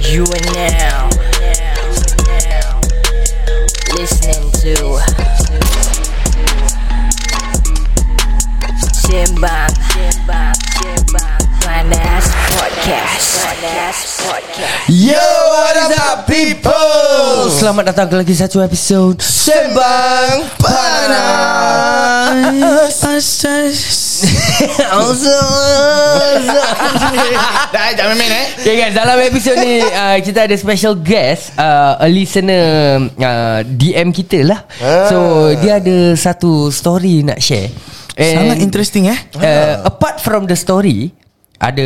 You are now listening to Simbang Finance Podcast. Finance Podcast. Yo, what up people? Oh, Selamat datang ke lagi satu episod Sembang Panas Dah, jangan main eh Okay guys Dalam episod ni uh, Kita ada special guest uh, A listener uh, DM kita lah So Dia ada satu story nak share Ah. Sangat interesting eh uh, Apart from the story ada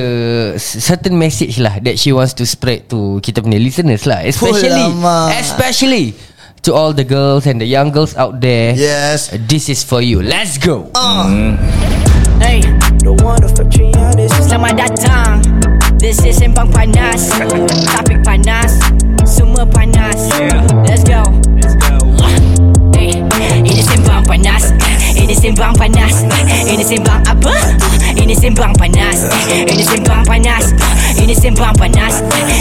certain message lah that she wants to spread to kita punya listeners lah especially Oh, lama. especially to all the girls and the young girls out there Yes this is for you let's go Hey, selamat datang. This is Sembang Panas. Topik panas, semua panas. Let's go. Hey, ini Sembang Panas. Ini Sembang Panas. Ini Sembang apa? Ini Sembang Panas. Ini Sembang Panas. Ini Sembang Panas.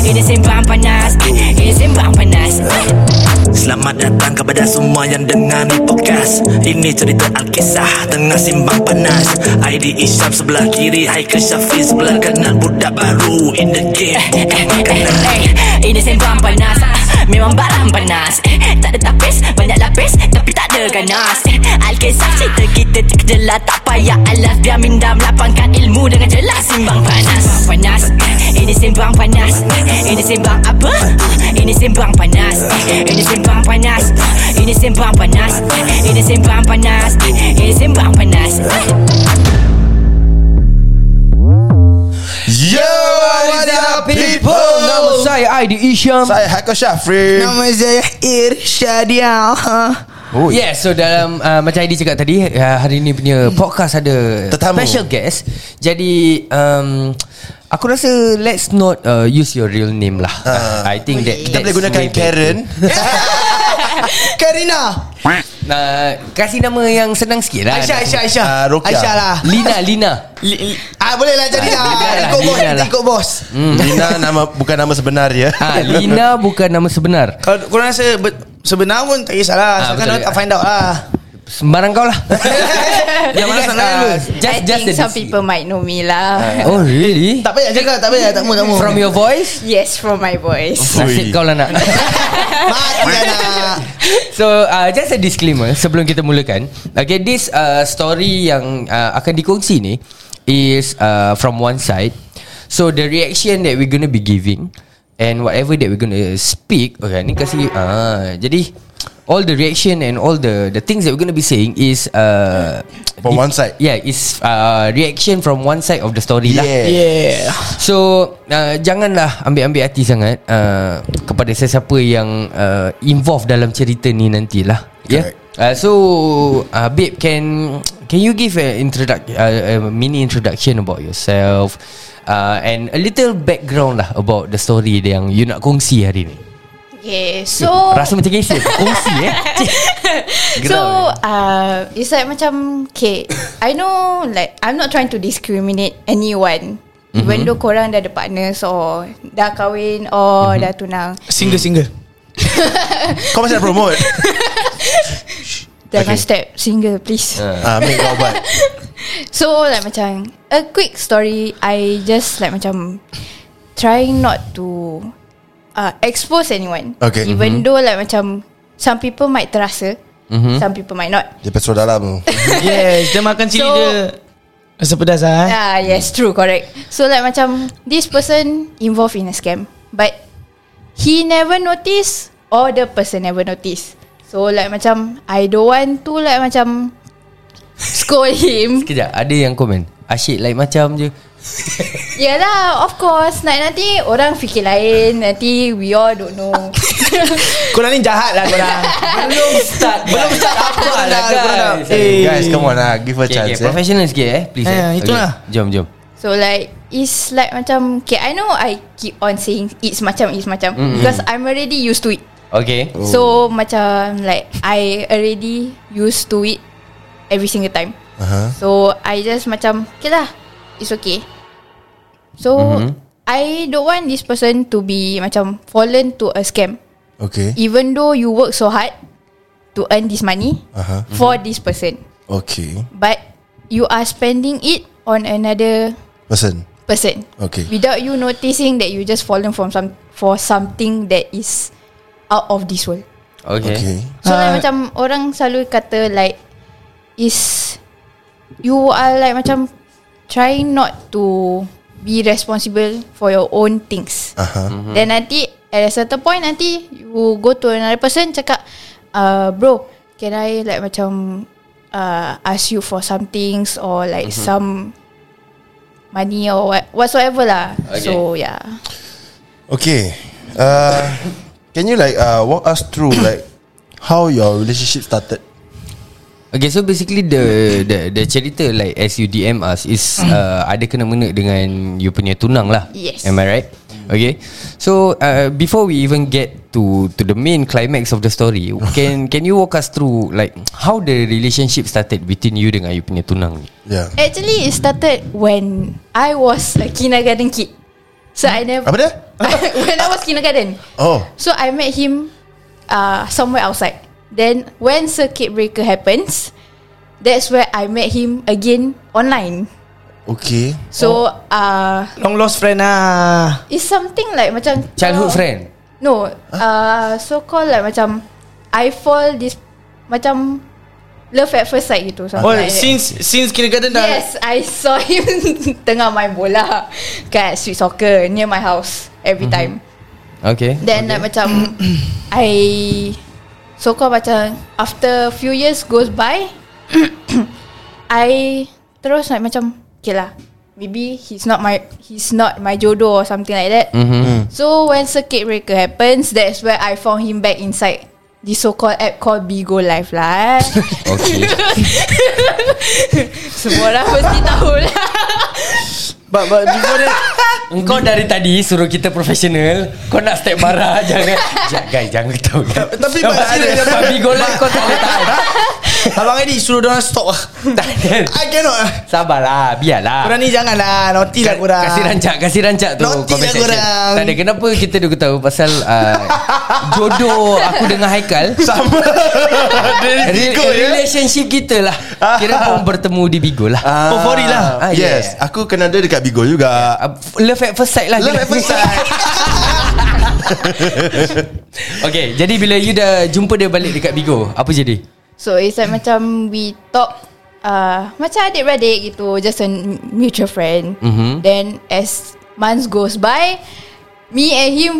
Ini Sembang Panas. Ini Sembang Panas. Selamat datang kepada semua yang dengar ni podcast Ini cerita Alkisah tengah simbang panas ID Isyam sebelah kiri Haikal Syafiq sebelah kanan Budak baru in the game Bukan makanan Eh, Ini sembang panas Ah, Memang barang panas Eh, Tak ada tapis Banyak lapis Tapi tak ada ganas Eh, Alkisah cerita kita terkejelah Tak payah alas Biar minda melapangkan ilmu Dengan jelas Simbang panas Sembang panas Eh, Ini sembang panas Eh, Ini sembang apa? Ah, Ini sembang panas Eh, Ini sembang panas Ah, Ini sembang panas Eh, Ini sembang panas Eh, Ini sembang panas Ah. Yo, what up people? Nama saya Aidi Isham Saya Haikal Syafri Nama saya Irsyadial oh, Yes So dalam uh, Macam Aidi cakap tadi uh, Hari ni punya Hmm. podcast ada Tetamu. Special guest Jadi um, Aku rasa Let's not uh, Use your real name lah Ah. uh, I think that Kita boleh that's gunakan way better. Karen Eh, Karina uh, Kasih nama yang senang sikit lah Aisyah Aisyah Aisyah Ah, Rokia. Aisyah lah Lina Lina Li- Ah boleh lah jadi lah Lina lah, Lina Ikut bos kita lah. Ikut bos Hmm. Lina nama bukan nama sebenar ya ha, Lina bukan nama sebenar Kalau korang rasa be- Sebenar pun tak Ah, kisahlah betul. Asalkan orang tak find out lah Sembarang kau lah Jadi, Yang mana guys, senang uh, dulu. Just, I just think the- some people might know me lah. Oh really? Tak payah cakap Tak payah Tak mau tak mau From your voice? Yes, from my voice. Nasib kau lah nak Mati anak So uh, just a disclaimer sebelum kita mulakan. Okay, this uh, story yang uh, akan dikongsi ni is uh, from one side. So the reaction that we're gonna be giving and whatever that we're gonna speak, okay, ni kasi ah jadi all the reaction and all the the things that we're gonna be saying is uh, From one side. Yeah, is uh, reaction from one side of the story lah. Yeah Yeah So uh, Janganlah ambil-ambil hati sangat uh, Kepada sesiapa yang uh, Involved dalam cerita ni nantilah Ya yeah? Correct. uh, So uh, Babe can Can you give a, introduc- uh, a mini introduction about yourself uh, And a little background lah About the story yang you nak kongsi hari ni Okay, so Rasa macam kisah Kongsi eh so uh, it's like macam okay. I know like I'm not trying to discriminate anyone. Even though korang dah ada partners or dah kahwin or dah tunang. Single single Kau masih nak promote Jangan step single please. Ah, Ambil kau ubat So like macam A quick story I just like macam Trying not to uh, Expose anyone Okay. Even though like macam Some people might terasa Some people might not Dia pasal dalam tu Hmm. Yes Dia makan cili So- dia Rasa pedas lah eh Ah yes true correct So like macam This person involved in a scam But He never notice Or the person never notice So like macam I don't want to like macam Scold him Sekejap Ada yang komen Asyik like macam je Yalah, lah, of course. Like, nanti orang fikir lain. Nanti we all don't know. Korang ni jahat lah korang Belum start Belum start apa lah guys Eh. Guys come on lah Give her Okay, chance okay, eh professional sikit eh Please Eh, eh. itulah. okay. Jom jom so, like, it's like macam... Okay, I know I keep on saying it's macam, it's macam. Mm-hmm. Because I'm already used to it. Okay Oh. So, macam like, I already used to it every single time. Aha. So, I just macam, okay lah. It's okay. So, mm-hmm. I don't want this person to be macam fallen to a scam. Okay. Even though you work so hard to earn this money Aha. for this person, Okay. but you are spending it on another Person. person Okay. without you noticing that you just fallen from some for something that is out of this world. Okay. okay. Okay. So uh, Ah. like macam orang selalu kata like is you are like macam trying not to be responsible for your own things. Aha. Mm-hmm. Then nanti at a certain point nanti you go to another person cakap uh, bro can I like macam uh, ask you for some things or like mm-hmm. some money or what whatsoever lah. Okay. Okay. So yeah. Okay. Uh, can you like uh, walk us through like how your relationship started? Okay so basically the the, the cerita like as you DM us is uh, ada kena mengena dengan you punya tunang lah. Yes. Am I right? Okay. So uh, before we even get to to the main climax of the story, can can you walk us through like how the relationship started between you dengan you punya tunang ni? Yeah. Actually, it started when I was a kindergarten kid. So I never. Apa dia? when I was kindergarten, Oh. so I met him uh, somewhere outside. Then when circuit breaker happens, that's where I met him again online. Okay. So Oh. uh, Long lost friend lah it's something like macam Childhood Oh. friend. No, uh, so called like macam I fall this macam love at first sight gitu. something Oh like that. since Since kindergarten dah Yes, I saw him tengah main bola kat street soccer near my house every Mhm. time. Okay. Then like macam I so called macam after few years goes by, I terus like macam okay lah. Maybe he's not my he's not my jodoh or something like that. Mhm. So when circuit breaker happens, that's where I found him back inside the so-called app called Bigo Live lah. eh. Okay. Semua orang mesti tahu lah. But, but before that Engkau dari tadi suruh kita profesional Kau nak step marah Jangan Jangan guys jangan tahu kan tapi Pak Siril- Babi golak kau tak boleh tahan Abang Edi suruh diorang stop lah Tak ada. I cannot lah Sabarlah Biarlah Korang ni jangan lah Naughty lah korang Kasih rancak Kasih rancak tu Naughty lah comment section. korang. Tak ada kenapa kita dah tahu Pasal uh, Jodoh Aku dengan Haikal Sama. Dari Re- Bigo ya. Relationship kita lah Kira pun bertemu di Bigo lah Ah, Oh, Fori lah. Ah, yes, yeah. aku kenal dia dekat Bigo juga. Uh, Love at first sight lah Love at first sight. Okay Jadi bila you dah Jumpa dia balik dekat Bigo Apa jadi? So it's like macam we talk uh, Macam adik-beradik gitu Just a m- mutual friend Mm-hmm. Mhm. Then as months goes by Me and him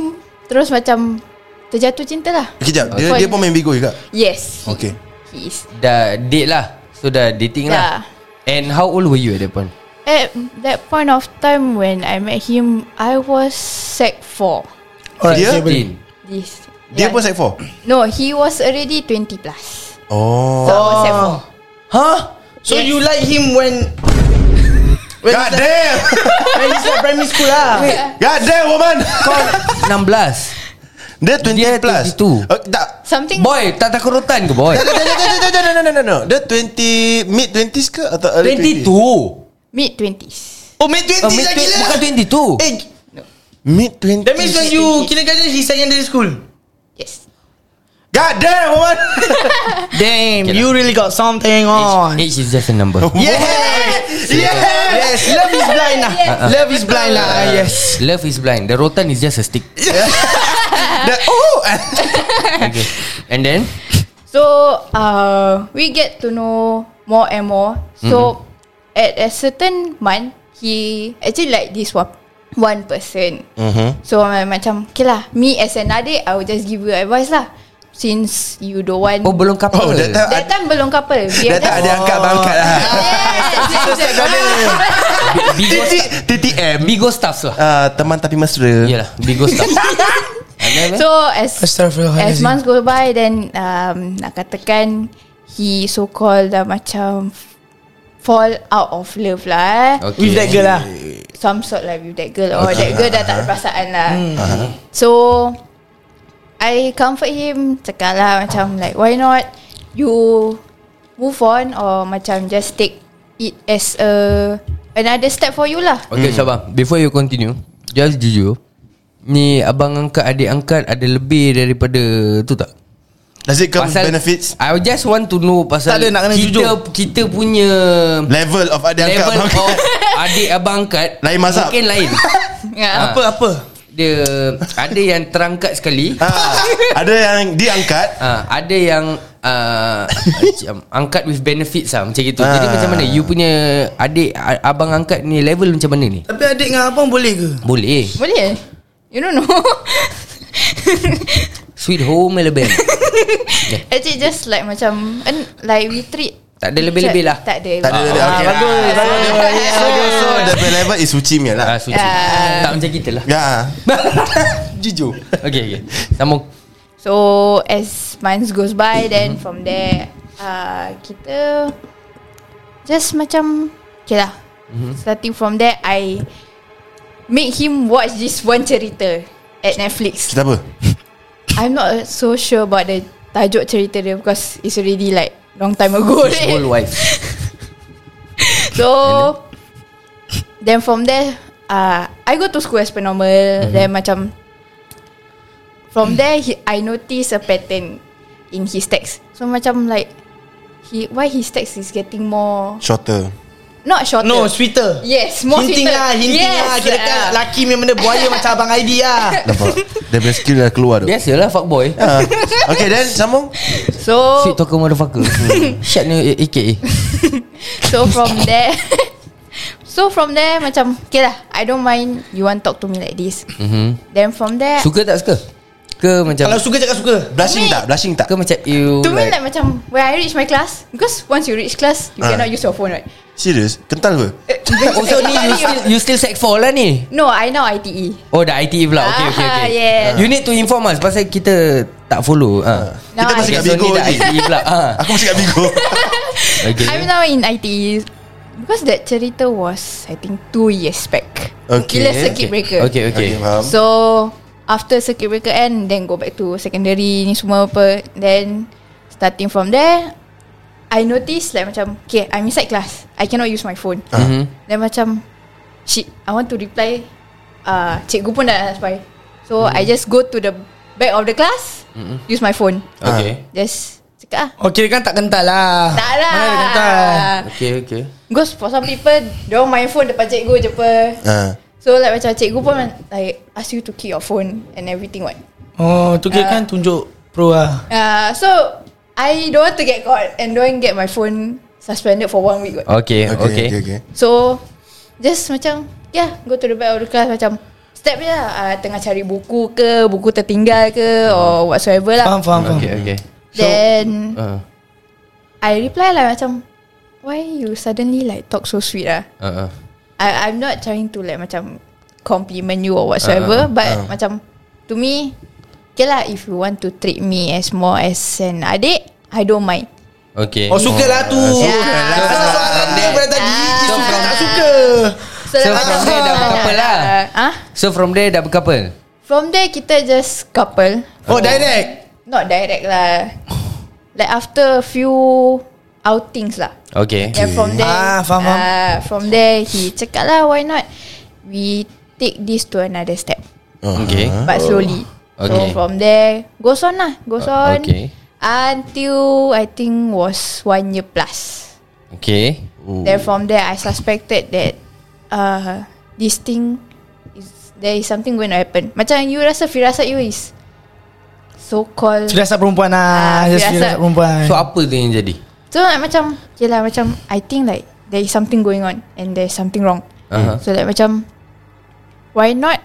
terus macam Terjatuh cinta lah Kejap, dia Fori. dia pun Oh. main Bigo juga. Yes he- Okay. He is Dah date lah So dah dating lah Dah. And how old were you at that point? At that point of time when I met him I was sec 4 Alright, Dia? saya boleh. This Dia yeah. pun sec 4. No he was already 20 plus Oh. So I was sec Huh? So Yes. you like him when When God damn. When he's at primary school lah God damn woman. 16 Dia 20 Dia plus. 22. Oh, tak. 4 Something Boy tak takut rotan ke boy? No, no, no, no, no, no, no, no. Dia 20 mid 20s ke atau early 22 20s? Mid 20s Oh mid 20 Oh, lah mid- gila Bukan 22 Eh Mid 20s. That means when you Kindergarten he secondary school Yes God damn woman. Damn Okay lah. You really got age, something on age is just a number Yes Yes Love is blind lah Yes. Love is blind lah ah, Yes Uh, Love is blind The rotan is just a stick Dia, oh. okay. And then So uh, we get to know more and more. So at a certain month, he actually like this one one person. Mhm. So uh, macam okay lah, me as an adik, I will just give you advice lah. Since you don't want Oh belum couple Oh, that time- that time belum couple. We Dia are tak ada just- angkat bangkat lah. Yes, yes, yes. Bigo, Titik- TTM. Bigo staffs lah Ah, teman tapi mesra. Yalah Bigo staffs And then, So as as Astaghfirullahaladzim months go by, then um, nak katakan he so called dah macam fall out of love lah. Eh. okay. With that girl lah some sort lah with that girl or that girl dah tak ada perasaan lah Hmm. Uh-huh. so I comfort him cakap lah macam like why not you move on or macam just take it as a another step for you lah Hmm. Okay Syabah Before you continue Just jujur Ni abang angkat Adik angkat Ada lebih daripada Tu tak Does it come benefits I just want to know Pasal Tak ada, nak kena kita, jujur. Kita punya Level of adik angkat Level abang angkat. of Adik abang angkat Lain mazhab. Mungkin lain Ah. Ya. Apa apa? Dia Ada yang terangkat sekali ha, Ada yang diangkat Ah, ada yang uh, macam angkat with benefits lah macam gitu. Jadi Ah. macam mana you punya adik a- abang angkat ni level macam mana ni? Tapi adik dengan abang boleh ke? Boleh. eh? Boleh You don't know Sweet home Alabama. Actually just like macam and Like we treat Tak ada lebih-lebih lah. Tak ada Tak ada lebih. ah, okay. bagus, Ah, bagus. dia boleh- So, so the level is suci punya lah Ah, suci. Ah. Tak macam kita lah. Ya Jujur. Okay, okay. Sambung. So as months goes by Then from there uh, Kita Just macam Okay lah Starting from there I Make him watch this one cerita At Netflix Kita apa I'm not so sure about the Tajuk cerita dia Because it's already like Long time ago His right? whole wife. So Then from there uh, I go to school as per normal Mhm. Then macam From there he, I notice a pattern In his text So macam like he Why his text is getting more Shorter Not shorter No, sweater. Yes more hinting sweeter. lah, hinting yes, lah. Kira kan ah. laki memang benda buaya macam abang Aidi lah. Nampak Dia punya skill dah keluar tu Biasalah lah, fuckboy. Ah. Okay then sambung So Sweet talker motherfucker. Shut ni eh, A- Eh. AKA. So from there So from there macam Okay lah I don't mind You want talk to me like this Mhm. Mm-hmm. Then from there Suka tak suka? Ke macam Kalau suka cakap suka. Blushing tak Blushing tak ke macam you To me like macam When I reach my class Because once you reach class You Ah. cannot use your phone right Serius Kental ke Oh so ni you still you still sec 4 lah ni. No I E. now ITE Oh dah ITE pula Okay okay okay Ah, yes. You need to inform us Pasal kita Tak follow ha. Now Kita I, masih Okay kat so Bigo ni dah ni. ITE pula ha. Aku masih kat Bigo Okay I'm now in ITE Because that cerita was I think 2 years back Okay, Gila circuit breaker Okay okay, Okay faham So After circuit breaker end Then go back to secondary Ni semua apa Then Starting from there I notice like macam Okay I'm inside class I cannot use my phone Mhm. Then macam Shit I want to reply uh, Cikgu pun dah spy So I just go to the Back of the class Use my phone Okay Just Cakap ah Oh kira kan tak kental lah. Tak lah Mana ada kental. Okay okay Because for some people Diorang main phone depan cikgu je apa Ah. So like macam cikgu pun Like ask you to keep your phone And everything what Oh tu Ah. kira kan tunjuk pro lah. Uh, so I don't want to get caught and don't get my phone suspended for one week. kot. Okay okay, okay, okay. So just macam yeah, go to the back of the class macam step je lah. Uh, tengah cari buku ke, buku tertinggal ke or whatsoever lah. Faham faham faham. Okay okay Then Ah, I reply lah macam why you suddenly like talk so sweet lah. ah, ah. I I'm not trying to like macam compliment you or whatsoever, but macam to me, okay lah if you want to treat me as more as an adik, I don't mind. Okay Oh suka lah tu. suka lah. Asal soalan dia pada tadi Ah. suka tak suka. So, So, like, from macam- there dah bercouple lah. Ah, So from there dah berkapal From there kita just couple Oh direct. Not direct lah Like after a few outings lah Okay Then from there Ah, faham, faham. ah, From there he cakap lah why not We take this to another step Okay But slowly Oh. Okay. Uh, So from there Goes on lah Goes on okay. Until I think was one year plus Okay Then from there, I suspected that uh, this thing is there is something going to happen. Macam you rasa firasat you is so called. Firasat perempuan Ah, lah. Just firasat. firasat perempuan. So apa tu yang jadi So like, macam okay lah macam I think like there is something going on and there's something wrong. Aha. So like macam why not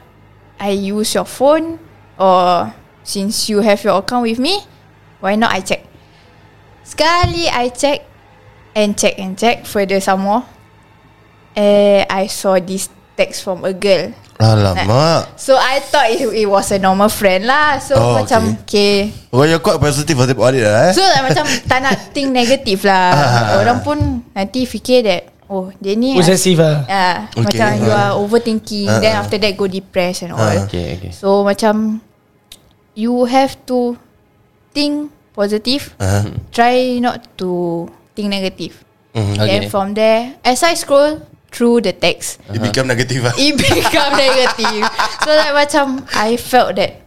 I use your phone or since you have your account with me, why not I check? Sekali I check and check and check further some more. Eh, I saw this text from a girl. Alamak So I thought it, it was a normal friend lah. So Oh, macam okay. Oh you're quite positive for the audit lah eh So like macam tak nak think negative lah. Ah. Orang pun nanti fikir that oh dia ni Possessive lah. Ah, Okay. Macam you are overthinking Ah, Then ah. after that go depressed and all Ah, Okay okay So macam You have to Think positive Ah. Try not to Think negative Mhm, Okay Then from there As I scroll through the text. It become negative lah It become negative. So like macam I felt that.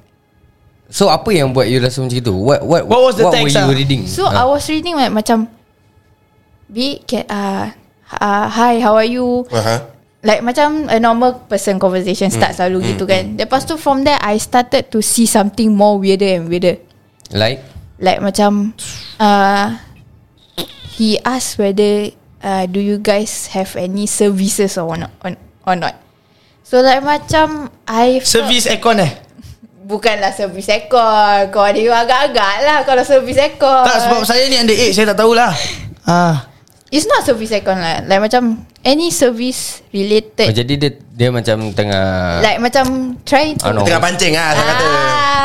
So apa yang buat you rasa macam itu? What what What was the text, were you ah? reading? So I was reading like macam, be can uh, uh, hi how are you? uh-huh. Like macam a normal person conversation Hmm. start selalu gitu kan. Lepas tu from there I started to see something more weirder and weirder. like Like macam uh, He asked whether uh, Do you guys have any services or not on, or not So like macam I felt- Service aircon eh Bukanlah servis ekor Kau ada yang agak-agak lah Kalau servis ekor Tak sebab saya ni under age Saya tak tahulah Ah, It's not servis ekor lah Like macam Any service oh, related jadi dia dia macam tengah Eh. Like macam Try to Ah, no. Tengah pancing lah Saya kata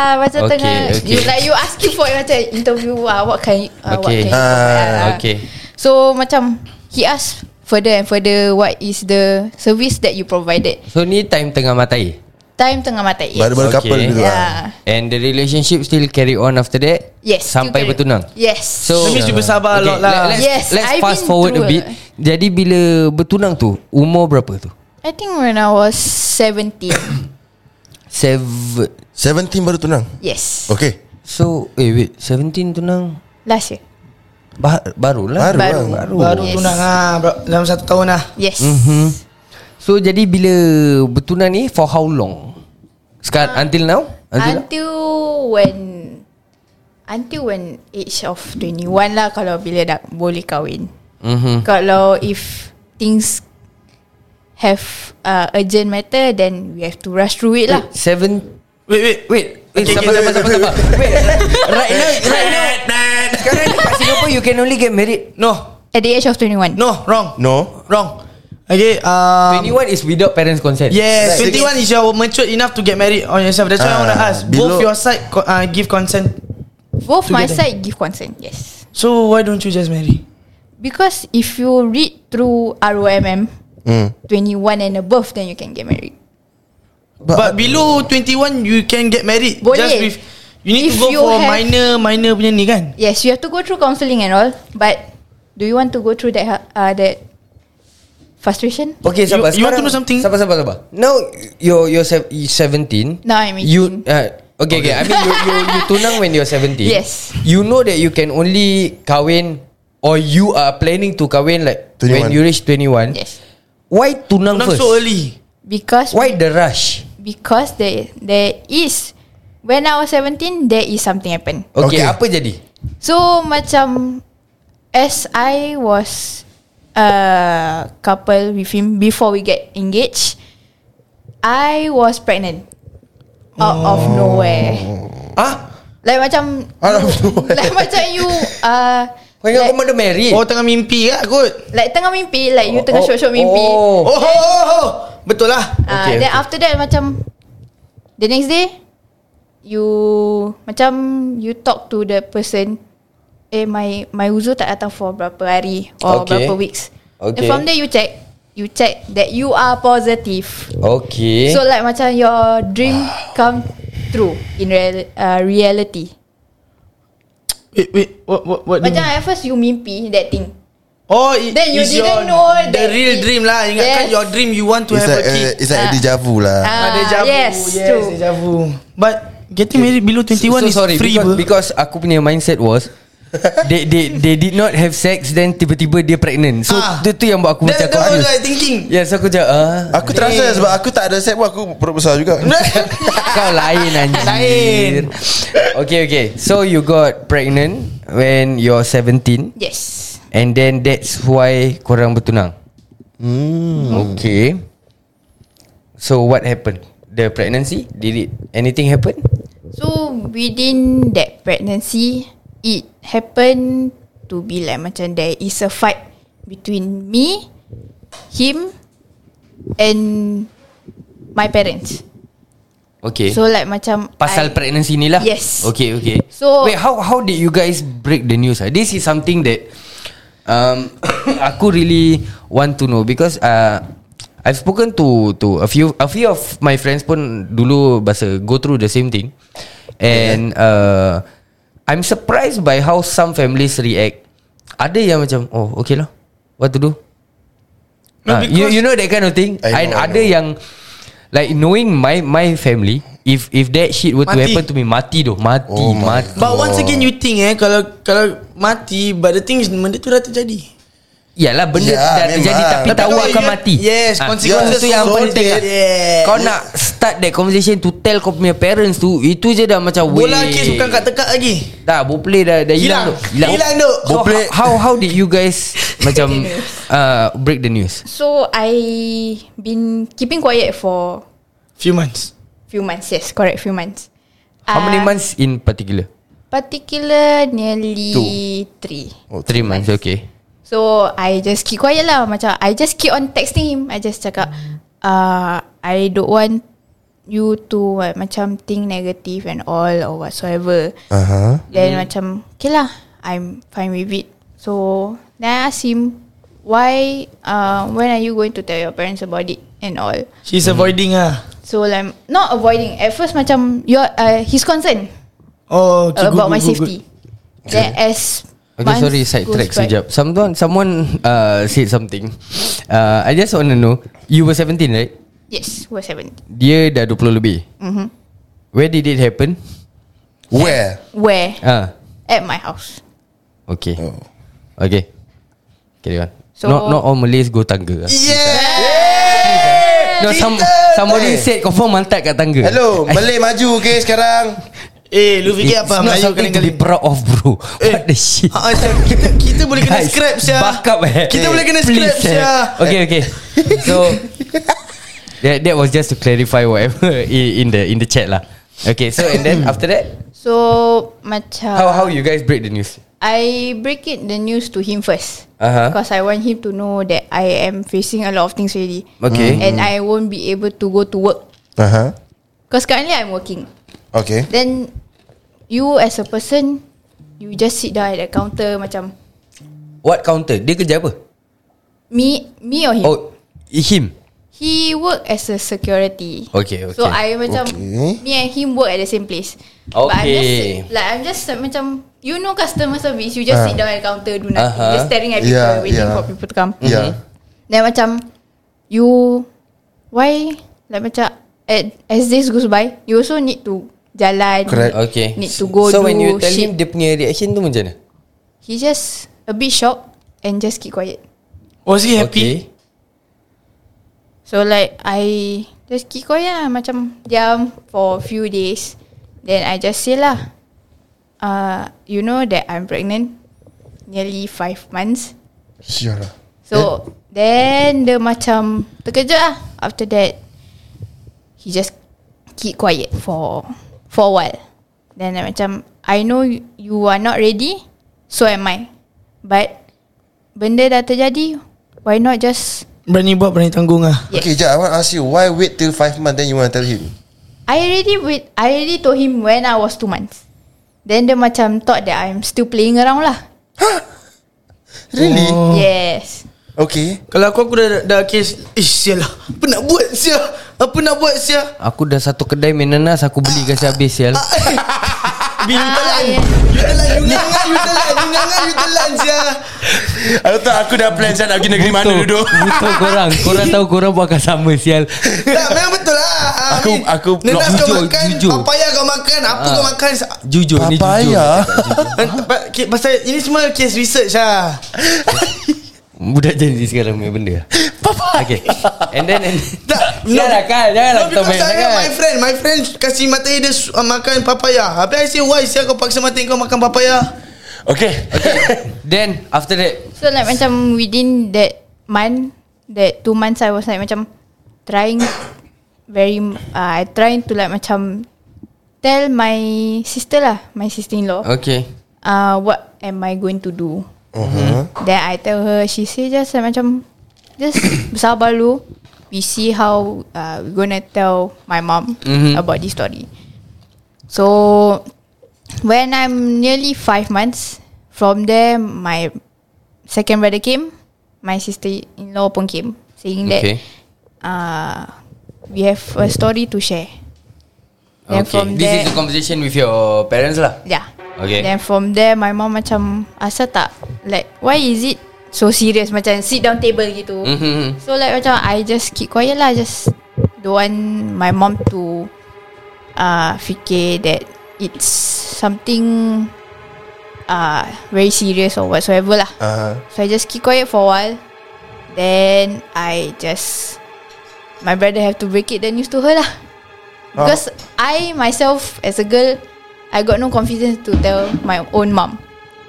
Ah, macam Okay, tengah okay. You, Like you asking for Macam interview ah, What can you ah, What Okay. can you provide, Ah, ah. okay. So macam He asked Further and further What is the Service that you provided So ni time tengah matai. Time tengah mata Baru-baru Okay. couple dulu lah yeah. And the relationship still carry on after that? Ah. Yes still Sampai carry- bertunang. Yes So That means you bersabar a lot lah. let- Let's, Yes, let's I've fast been forward a through bit. a- Jadi bila bertunang tu, umur berapa tu? I think when I was 17 Seven. 17 baru tunang Yes Okay So, eh wait, 17 tunang Last year bah, barulah. Baru, Baru. lah. Baru. Baru Yes. tunang ah, bro. Dalam satu tahun lah Yes Mm-hmm. So, jadi bila bertunang ni for how long? Sekarang until now? Until, now? Ah. Until when Until when Age of 21 lah Kalau bila dah boleh kahwin Mhm. Kalau if Things Have uh, Urgent matter Then we have to rush through it lah Eh, Seven Wait wait Wait, wait, sabar, sabar, sabar, sabar. Wait, right now, right now, sekarang ni kat Singapore you can only get married. No At the age of 21 No wrong No Wrong Okay um, 21 is without parents consent. Yes, Right. 21 is you're mature enough to get married on yourself. That's why I Ah, want to ask. below- Both your side co- uh, give consent. Both my Together. side Give consent Yes So why don't you just marry? Because if you read through ROMM Mm. Hmm. 21 and above Then you can get married But, below 21 you can get married. Boleh. Just with you need If to go you for have- minor minor punya ni kan? Yes you have to go through counselling and all But Do you want to go through that uh, That Frustration Okay, You- sabar. you want to Sekarang- know something? Sabar, sabar, sabar. Now you're you're sev- you're 17. Now I'm You uh, okay, okay. I mean you you you tunang when you're 17. Yes. You know that you can only kahwin or you are planning to kahwin like when 21. you reach 21. Yes Why tunang Not first? so early. Because Why the rush? Because there there is when I was 17 there is something happen. Okay, Okay. apa jadi? So macam as I was uh couple with him before we get engaged, I was pregnant out of Oh. nowhere. Ah, Like macam Out of nowhere. like macam you uh kau ingat like, kau mana married? Oh tengah mimpi lah kot. like tengah mimpi like you tengah Oh, syok-syok mimpi. Oh. Oh, oh, oh, oh. betul lah. Ah, Okay, okay, okay. then okay. after that macam the next day you macam you talk to the person eh my my uzur tak datang for berapa hari or Okay. berapa weeks. Okay. Okay. Then from there you check you check that you are positive. Okay. So like macam your dream come true in real, uh, reality. Wait wait what what Hmm. what? do you Macam mean? at first you mimpi that thing. Oh, it, Then you it's didn't your, know the that real it- dream lah. Yes. Ingatkan your dream you want to It's have like, a kid. uh, it's like deja vu lah Ah, deja vu. yes, yes true. deja vu. But getting married below 21 is free because, bro. because aku punya mindset was they they they did not have sex then tiba-tiba dia pregnant. So Ah. tu tu yang buat aku macam That, that was confused. like thinking. Yes aku cakap ah. Aku terasa sebab aku tak ada set pun Aku perut besar juga eh, Kau lain anjir Lain. Okay okay So you got pregnant When you're 17 Yes. And then that's why Korang bertunang hmm. Okay So what happened The pregnancy Did it Anything happen So within that pregnancy, it happened to be like macam there is a fight between me, him, and my parents. Okay So like macam Pasal I, pregnancy ni lah Yes. Okay okay So- Wait how how did you guys break the news ah? This is something that um, Aku really want to know Because uh, I've spoken to to a few a few of my friends pun dulu bahasa go through the same thing, and uh, I'm surprised by how some families react. Ada yang macam oh okay lah, what to do? No, No, you because- you know that kind of thing. I know, and I ada know. yang like knowing my my family, if if that shit were to Mati. happen to me, mati doh, mati, Oh my mati. But once again you think eh Kalau kalau mati But the thing is Benda tu dah terjadi Yalah Ya, benda yeah, dah memang. terjadi tapi, Tapi tahu kalau akan you- mati. yes, Ah, consequences itu yang so penting. eh. that- yes. Kau nak start that conversation to tell kau punya parents tu, itu je dah macam Bola weh. kes bukan kat tekak lagi Dah Boplay dah dah hilang tu. Hilang. Hilang tu. So, Boplay. how how did you guys macam uh, break the news? So I been keeping quiet for Few months few months. Yes, correct, few months. How many Ah, months in particular? Particular nearly three. Oh, three months. Okay. So I just keep quiet lah Macam I just keep on texting him I just cakap uh, I don't want You to uh, Macam think negative And all Or whatsoever Uh-huh. Then Mm-hmm. macam Okay lah I'm fine with it So Then I ask him Why uh, When are you going to tell your parents about it And all Hmm. She's avoiding ah. So like Not avoiding At first macam you're, uh, He's concerned Oh okay, About my good, good, good. safety Then as Okay, months sorry, goes side track by- sekejap. Someone, someone uh, said something. Uh, I just want to know, you were 17, right? Yes We're 17 Dia dah 20 lebih. Mhm. Where did it happen? Where? Where Ah, At my house okay, Oh. okay. Carry on. So, So- not not all Malays go tangga. Yeah. No, some, somebody said confirm mantap kat tangga. Eh, Hello, Malay maju okay sekarang. Eh lu fikir It's apa not Melayu something to kali-kali be proud of, bro. What the shit? Ah, Syah, kita, kita boleh kena Guys, scrap Syah Back up eh Kita boleh kena Please, scrap eh. Syah Okay okay So that, that was just to clarify Whatever in, in the in the chat lah Okay so and then after that So macam How how you guys break the news I break it the news to him first Uh-huh. because I want him to know that I am facing a lot of things already Okay. Hmm. and I won't be able to go to work Uh-huh. because currently I'm working. Okay. Then you as a person, you just sit down at the counter macam What counter Dia kerja apa me, me or him. Oh Him He work as a security. Okay, okay. So I macam Okay. me and him work at the same place. But I'm just Okay. like I'm just like, macam you know customer service, you just Ah. sit down at the counter do nothing, Aha. just staring at people Yeah, waiting yeah. for people to come. Yeah. Then macam you why like macam at, as this goes by, you also need to jalan. Correct. Okay Need to go So do when you tell shit. him Dia punya reaction tu macam mana He just a bit shocked and just keep quiet. Was he Oh, happy? So like I just keep quiet lah Macam diam for a few days Then I just say lah uh, You know that I'm pregnant Nearly five months Sure lah. So then dia macam terkejut lah After that He just keep quiet for for a while Then I macam I know you are not ready So am I But Benda dah terjadi Why not just Berani buat berani tanggung ah. Yes. Okay, Jack, I want to ask you, why wait till five months then you want to tell him? I already with I already told him when I was two months. Then dia macam thought that I'm still playing around lah. Really? Oh. Yes. Okay. Kalau aku aku dah dah kes Ish sial lah Apa nak buat Syah Apa nak buat Syah Aku dah satu kedai main nanas Aku beli kasi habis sial Bila you telan yeah. You telan You ngangan You telan You ngangan You telan Syah Aku tahu aku dah plan saya nak pergi negeri mana duduk. Betul korang Korang tahu korang buat akan sama sial Tak memang betul lah Ah, Aku- ni. aku blok. Nenas kau Jujur, makan jujur. Ah. Apa yang kau makan Apa kau makan Sa- Jujur ni jujur Papaya. Eh, pa- ke- Pasal ini semua Kes research lah Budak jadi sekarang punya benda Papa Okay And then and Tak Janganlah kan Janganlah No, kita because main I have my sangat friend My friend Kasih mata dia su- uh, Makan papaya Habis I say Why Syah kau paksa mata kau makan papaya Okay. Okay. Then after that So like macam within that month, that two months I was like macam trying very uh, I trying to like macam tell my sister lah, my sister-in-law, Okay uh, what am I going to do? Uh-huh. Then I tell her She say just like, macam Just bersabar dulu We see how uh, We gonna tell My mom Mhm. About this story So When I'm nearly five months From there My Second brother came My sister-in-law pun came Saying that Okay uh, We have a story to share Then Okay from This there is the conversation with your parents lah Yeah. Okay. Then from there my mom macam asal tak like why is it so serious macam sit down table gitu. Mhm. So like macam I just keep quiet lah Just don't want my mom to uh, Fikir that It's something uh, Very serious or whatsoever lah Uh, So I just keep quiet for a while Then I just My brother have to break it the news to her lah Because I myself as a girl I got no confidence to tell my own mom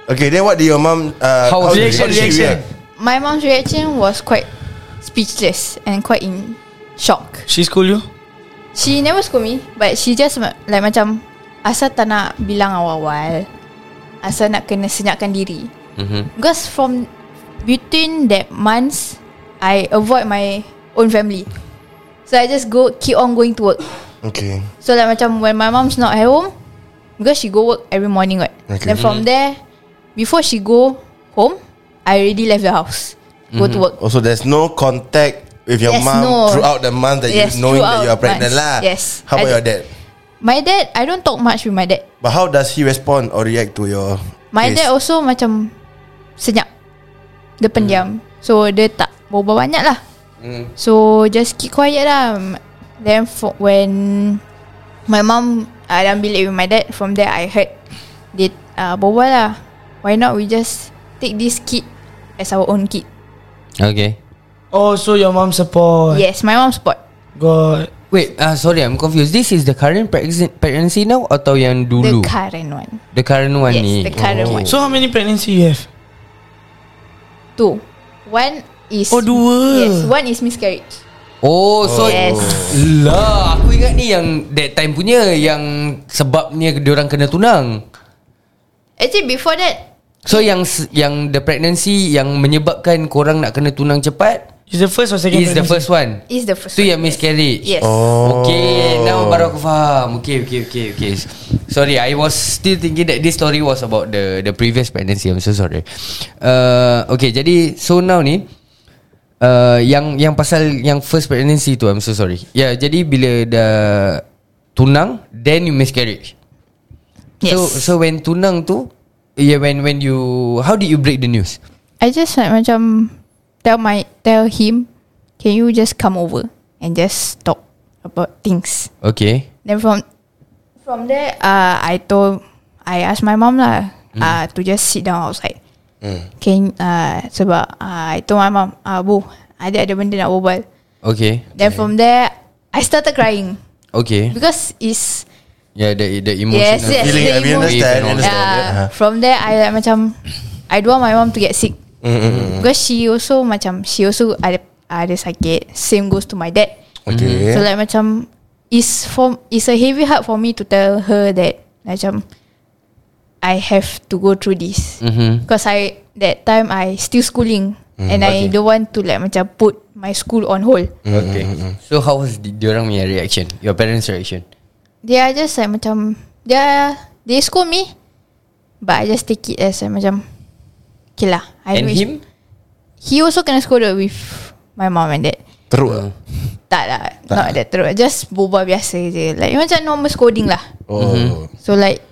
okay, then what did your mom... Uh, How- did- how reaction, did she reaction. react? My mom's reaction was quite speechless And quite in shock She school you? She never scold me But she just ma- like macam Asal tak nak bilang awal-awal Asal nak kena senyapkan diri Mhm. Because from Between that months I avoid my own family So I just go Keep on going to work Okay. So like macam When my mom's not at home Because she go work every morning right Okay. Then from there Before she go home I already left the house Go to work Also, there's no contact with your Yes, mom no. throughout the month that Yes, you knowing that throughout you are pregnant months. lah. Yes. How about I- your dad? My dad I don't talk much with my dad But how does he respond or react to your My case? dad also macam Senyap Dia Hmm. pendiam So dia tak berbual banyak lah So just keep quiet lah Then for, when My mom uh, Dalam bilik with my dad From there I heard Dia uh, berbual lah Why not we just Take this kid As our own kid Okay. Oh, so your mom support. Yes my mom support God. Wait, uh, sorry, I'm confused. This is the current pregnancy, pregnancy now atau yang The dulu? Oh. current one the current one Yes, ni. the current one. So how many pregnancy you have? Two One is Oh, dua. Yes one is miscarriage Oh, so Yes. lah. Aku ingat ni yang that time punya yang sebabnya orang kena tunang. Actually before that So yang s- yang the pregnancy yang menyebabkan korang nak kena tunang cepat Is the first or second? is the first one. Is the first Tu one, yang miscarriage. Yes Oh. Okay, now baru aku faham. Okay, okay, okay, okay. Sorry, I was still thinking that this story was about the the previous pregnancy. I'm so sorry. Uh, okay, jadi so now ni uh, yang yang pasal yang first pregnancy tu I'm so sorry. Ya, yeah, jadi bila dah tunang then you miscarriage. Yes So so when tunang tu yeah when when you how did you break the news? I just like macam tell my tell him, can you just come over and just talk about things. Okay. Then from from there, uh, I told I asked my mom lah, uh, to just sit down outside. Can uh, sebab uh, I told my mom, ah uh, bu, ada ada benda nak berbual. Okay. Then from there, I started crying Okay. because it's Yeah, the the emotional Yes, yes, Feeling, the I mean, emotion. understand, Yeah. understand. Yeah. Uh-huh. yeah. From there, I like macam I don't want my mom to get sick. Mm-hmm. Because she also macam she also ada ada sakit. Same goes to my dad. Okay. Mm-hmm. So like macam is for is a heavy heart for me to tell her that macam I have to go through this Mhm. because I that time I still schooling and I don't want to like macam put my school on hold. Okay. So how was the, diorang punya reaction? Your parents reaction? They are just like macam they are, they scold me but I just take it as like macam okay lah. I And know it's- him? He also kena scolded with my mom and dad. Teruk lah. Hmm. Tak lah, not that teruk. Just berbual biasa je. Like macam normal scolding lah. Oh. So like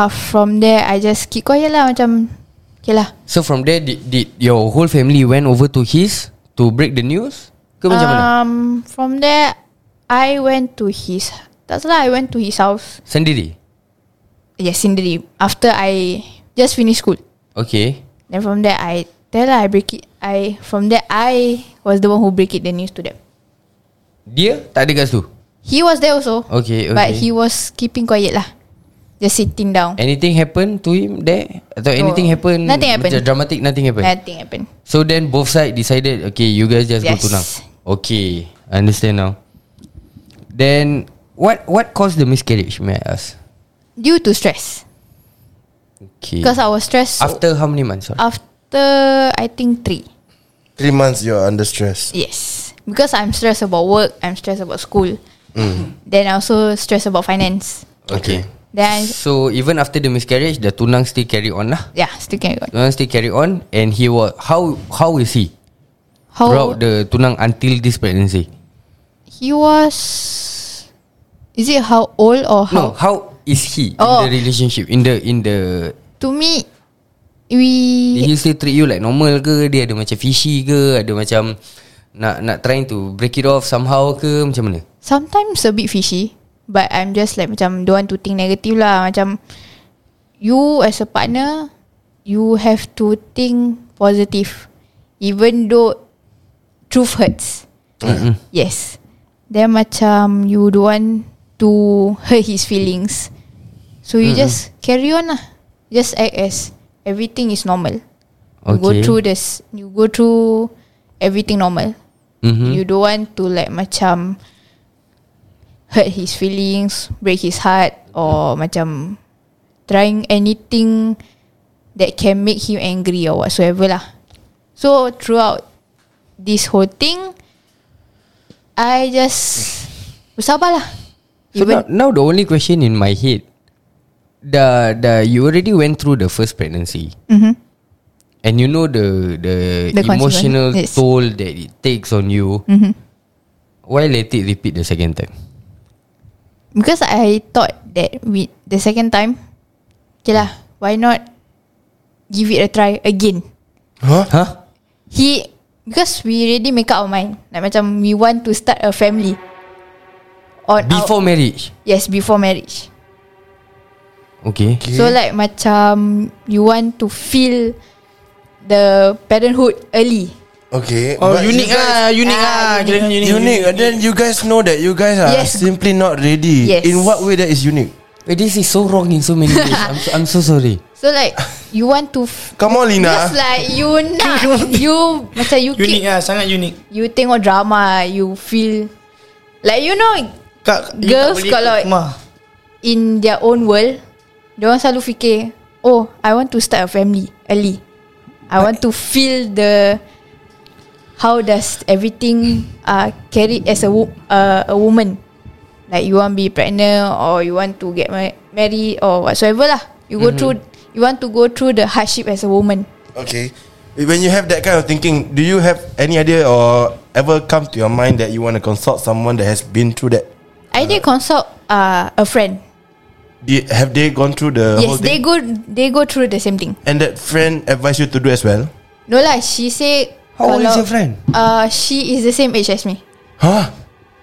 uh, from there I just keep quiet lah macam okay lah. So from there did, did your whole family went over to his to break the news? Ke macam mana? Um, from there I went to his tak salah I went to his house. Sendiri? Yes, sendiri. After I just finish school. Okay. Then from there I tell lah I break it. I from there I was the one who break it the news to them. Dia tak ada kat situ? He was there also. Okay, But okay. he was keeping quiet lah. Just sitting down. Anything happen to him there? Atau anything happen? Oh, Nothing happen. Macam dramatic, nothing happen? Nothing happened. so then both side decided, okay, you guys just Yes. go tunang. Okay, I understand now. Then, what what caused the miscarriage, may I ask? Due to stress. Okay. Because I was stressed. After how many months? Sorry. after I think three. Three months you're under stress. Yes. Because I'm stressed about work. I'm stressed about school. Mm. Then I also stressed about finance. Okay. Then I, So even after the miscarriage, the tunang still carry on lah. yeah, still can go. Tunang still carry on, and he was how how is he How throughout the tunang until this pregnancy? he was? Is it how old or No, how? how is he in Oh. the relationship in the in the To me, we Did he still treat you like normal ke Dia ada macam fishy ke Ada macam Nak nak trying to break it off somehow ke Macam mana sometimes a bit fishy but I'm just like macam don't want to think negative lah macam you as a partner you have to think positive even though truth hurts yes then macam you don't want to hurt his feelings so you just carry on lah just act as everything is normal you go Okay. through this you go through everything normal mm-hmm. You don't want to like macam hurt his feelings, break his heart or Mm-hmm. macam trying anything that can make him angry or whatsoever lah. So throughout this whole thing, I just bersabar lah. So now, now the only question in my head the the you already went through the first pregnancy Mhm. and you know the the, The consequence, emotional yes. toll that it takes on you Mhm. why let it repeat the second time Because I thought that with the second time, okay lah, why not give it a try again? Huh? huh He Because we already make up our mind Like macam We want to start a family On before marriage our, Yes before marriage okay okay. So like macam You want to feel The parenthood early Okay Oh but unique you guys- ah Unique Ah, ah Kira kan unique Unique And then you guys know that You guys are Yes. simply not ready Yes. In what way that is unique? Wait, Eh, this is so wrong in so many ways I'm so, I'm so sorry So like You want to f- Come on Lina Just like you nak You Macam you Unique keep, ah Sangat unique You tengok drama You feel Like you know Kak you tak Girls boleh kalau- ikut rumah. in their own world, diorang selalu fikir, oh, I want to start a family early. I want to feel the how does everything uh, carried as a wo- uh, a woman. Like you want be pregnant or you want to get ma- married or whatsoever lah. You Mm-hmm. go through you want to go through the hardship as a woman. Okay When you have that kind of thinking Do you have any idea Or ever come to your mind That you want to consult someone That has been through that I did consult uh, a friend. Did, Have they gone through the whole yes, they thing go they go through the same thing. And that friend advised you to do as well No lah, she say How old is kalau- your friend? Uh, she is the same age as me. Huh?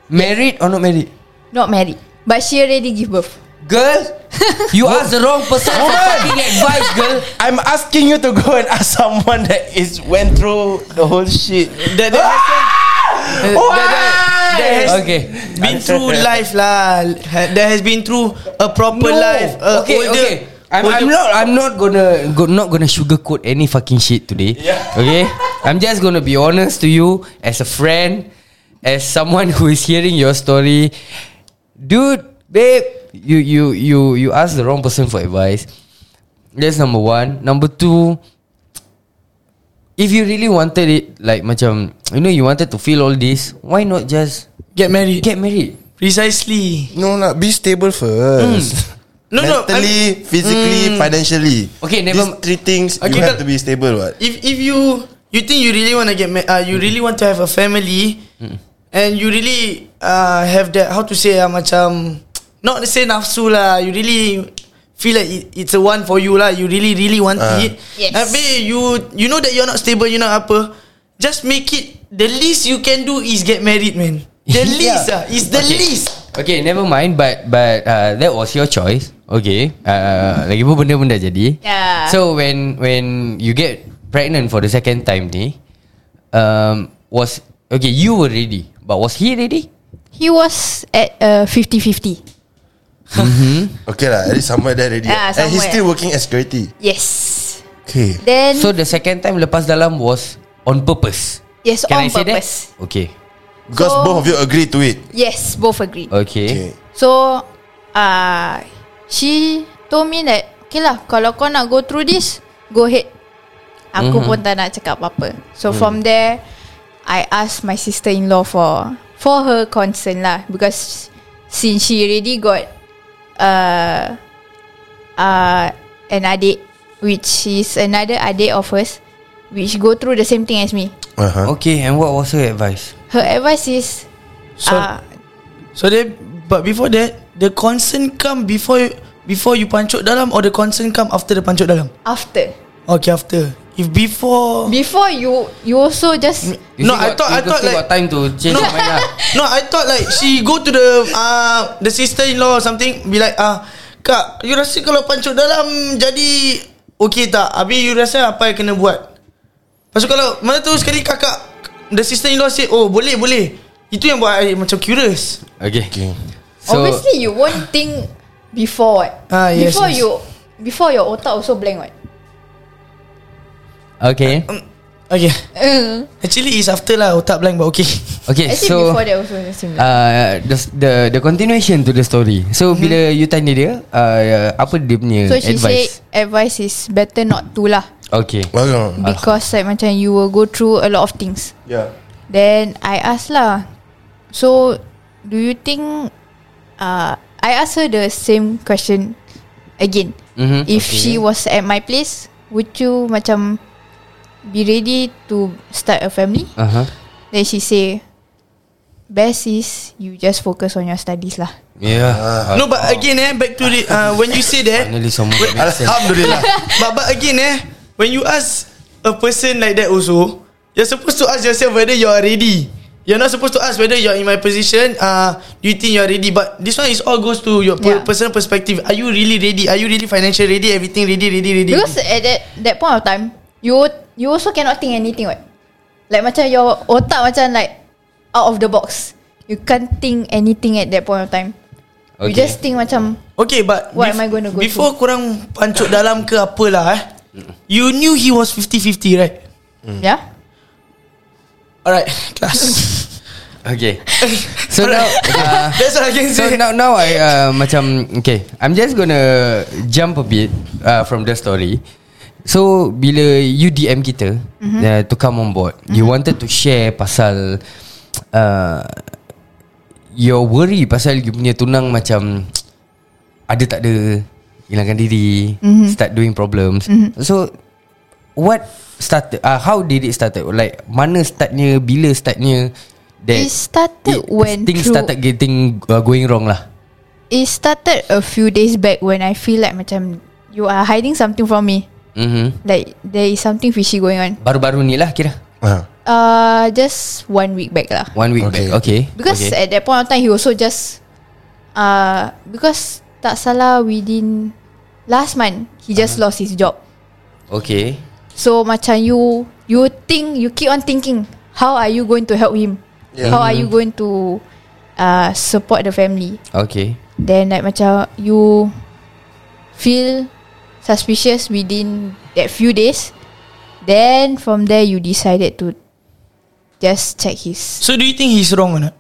married or not married Not married But she already give birth girl you ask the wrong person for fucking advice girl I'm asking you to go and ask someone That is went through The whole shit That that has- that- that- that has Okay. Been through life lah Ha- That has been through A proper life a okay, older- okay. I'm, I'm older- not I'm not gonna go, not gonna sugarcoat any fucking shit today. Okay? I'm just gonna be honest to you as a friend, as someone who is hearing your story. Dude, babe, you you you you ask the wrong person for advice. That's number one. Number two, if you really wanted it, like macam you know you wanted to feel all this, why not just Get married get married? Precisely No lah Be stable first No, no, Mentally Physically Financially Okay, never These three things Okay, You have to kal- be stable what If if you You think you really want to get ma- uh, You really want to have a family And you really uh, Have that How to say uh, Macam Not to say nafsu lah You really Feel like it, it's a one for you lah You really really want Ah. it Yes. Tapi you You know that you're not stable You not apa Just make it The least you can do Is get married man The Yeah. least ah, Is the least Okay never mind But but uh, That was your choice Okay uh, Lagi pun benda-benda jadi Yeah. So when When you get Pregnant for the second time ni um, Was Okay you were ready But was he ready? He was at uh, 50-50 Okay lah At least somewhere there already Ah, And he's somewhere. still working as security Yes Okay Then So the second time Lepas dalam was On purpose Yes Can on I say purpose that? Okay Because So- both of you agree to it Yes both agreed Okay, Okay So uh, She told me that Okay lah Kalau kau nak go through this Go ahead Aku pun tak nak cakap apa-apa So from there I asked my sister-in-law for For her concern lah Because Since she already got Uh uh, An adik Which is another adik of hers Which go through the same thing as me uh-huh. Okay and what was her advice? Her advice is So uh, So then But before that The concern come before Before you pancuk dalam Or the concern come after the pancuk dalam After Okay, after. If before... Before you You also just You still no, I got- thought you I thought still like got time to change No. your mind lah. No, I thought like she go to the uh, the sister-in-law or something be like ah kak, you rasa kalau pancut dalam jadi okey tak? Habis you rasa apa yang kena buat? Pasal kalau mana tu sekali kakak the sister-in-law say oh boleh boleh. Itu yang buat I macam curious. Okay. Okay. so, Obviously you won't think Before what Ah, yes, Before yes. you Before your otak also blank what Okay. Um, Okay. uh, Actually is after lah otak blank but okay. Okay, Actually so before that also similar. uh, the, the the continuation to the story. So hmm. bila you tanya dia, uh, apa dia punya Mhm. So she said advice? Advice is better not to lah Okay. Well, no. Because like macam You will go through a lot of things yeah. Then I ask lah So Do you think uh, I asked her the same question Again Mhm, If okay. she was at my place Would you macam Be ready to Start a family Uh huh. Then she say Best is You just focus on your studies lah Yeah. no but again eh back to the uh, when you say that Uh, Finally someone that makes sense. Alhamdulillah. but but again eh when you ask a person like that also you're supposed to ask yourself whether you are ready you're not supposed to ask whether you're in my position uh do you think you're ready but this one is all goes to your per- Yeah. personal perspective are you really ready are you really financial ready everything ready ready ready Because at that that point of time, you you also cannot think anything what. Like macam your otak macam like out of the box. You can't think anything at that point of time. Okay. You Okay. just think macam okay but What am I gonna go before kurang pancut dalam ke apalah eh you knew he was 50-50 right yeah. alright class Okay. So now, uh, that's what I can so say now now I uh, macam okay. I'm just gonna jump a bit uh, from the story. So bila you DM kita mm-hmm. uh, to come on board, mm-hmm. you wanted to share pasal uh, your worry pasal you punya tunang macam ada tak ada hilangkan diri, mm-hmm. start doing problems. Mm-hmm. So what started? Uh, how did it started? Like mana startnya, bila startnya? That It started when things through- started getting uh, going wrong lah. It started a few days back when I feel like macam you are hiding something from me. Mm-hmm. Like there is something fishy going on. Baru-baru ni lah kira Uh, Uh just one week back lah. One week Okay. okay. back Okay Because okay. at that point of time He also just uh, Because Tak salah within Last month He just lost his job okay So macam you You think You keep on thinking How are you going to help him Yeah. How are you going to uh, Support the family Okay Then like macam You Feel Suspicious within That few days Then from there You decided to Just check his so do you think he's wrong or not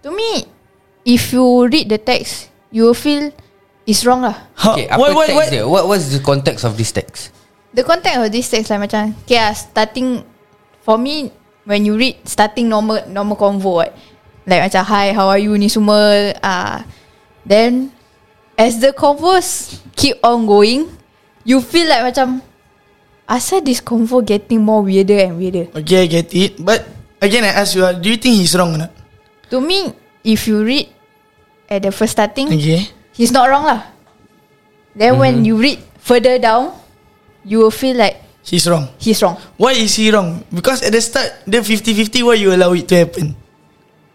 To me, if you read the text, you will feel it's wrong lah. How- Okay Apa text dia What was the context of this text The context of this text like macam, okay lah, starting, for me, when you read, starting normal normal convo right? Like macam, hi, how are you ni semua. ah then, as the convos keep on going, you feel like macam, asal this convo getting more weirder and weirder. Okay, I get it. But again, I ask you, uh, do you think he's wrong or not? To me, if you read at the first starting, Okay. he's not wrong lah. Then when Mm-hmm. you read further down, you will feel like He's wrong. he's wrong Why is he wrong? Because at the start, the 50-50, why you allow it to happen?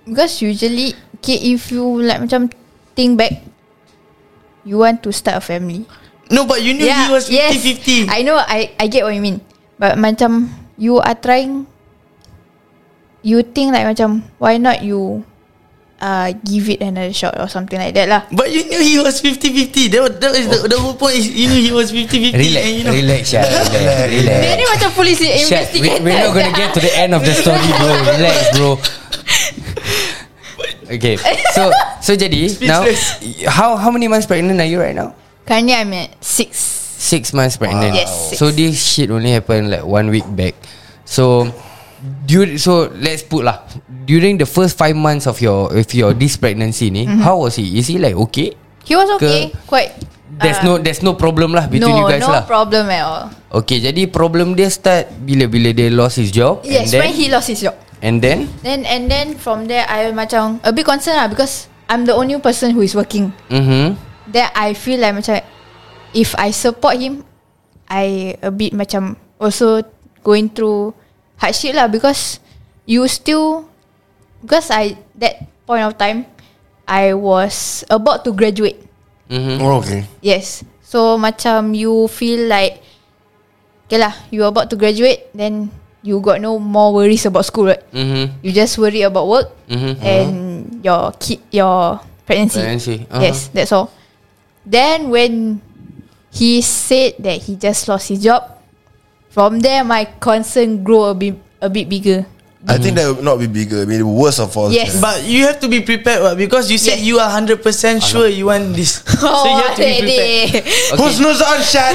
because usually, okay, if you like macam think back, you want to start a family. No, but you knew he was 50-50. I know. I I get what you mean. But macam you are trying. You think like macam why not you, uh, give it another shot or something like that lah. but you knew he was 50-50. That, was- that is the, the whole point is you knew he was 50-50. Relax and you know, Relax Syah Relax, relax. Dia ni macam polis Syah we, investigator. We're not gonna get to the end of the story bro Relax bro Okay So So jadi Now Speechless. How how many months pregnant are you right now Currently I'm at six. Six months pregnant. Wow. Yes, six. So this shit only happened like one week back. So during so let's put lah during the first five months of your if your this pregnancy ni, mm-hmm. how was he? Is he like okay? He was Ke- okay, quite. There's uh, no there's no problem lah between no, you guys no lah. problem at all. okay, jadi problem dia start bila bila dia lost his job. Yes, and then, when he lost his job. and then Then and then from there, I macam a bit concerned lah because I'm the only person who is working. mm-hmm. Then I feel like macam if I support him, I a bit macam also going through hardship lah because you still because I that point of time I was about to graduate. mm-hmm, Oh, okay. Yes. So macam you feel like Okay lah You about to graduate Then you got no more worries about school right Mm-hmm. You just worry about work Mm-hmm, Mhm. And your kid Your pregnancy Pregnancy, uh-huh. Yes that's all Then when He said that he just lost his job From there my concern grow a bit a bit bigger I think that would not be bigger. Maybe worse of all. Yes. But you have to be prepared what? Because you said Yes. you are 100% sure you want this So you have Oh, to be prepared Okay. Husnuz Arshad.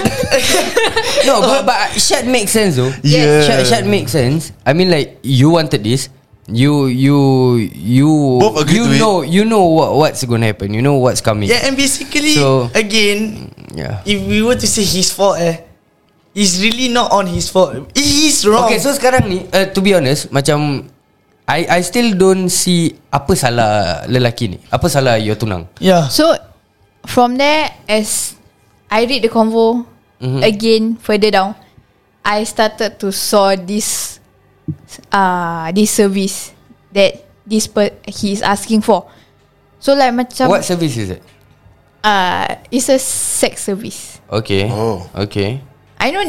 No, but, but Shad makes sense though. Yeah. Shad, Shad makes sense. I mean, like you wanted this. You you you Both agree to you it. know you know what what's gonna happen. You know what's coming. Yeah and basically So- Again Yeah. If we were to say his fault eh It's really not on his fault He's wrong Okay, so sekarang ni, uh, to be honest, macam I I still don't see apa salah lelaki ni. Apa salah your tunang? Yeah So from there as I read the convo Mm-hmm. again further down, I started to saw this uh this service that this per- he is asking for. So like macam What service is it? uh it's a sex service. Okay. Oh. Okay. I know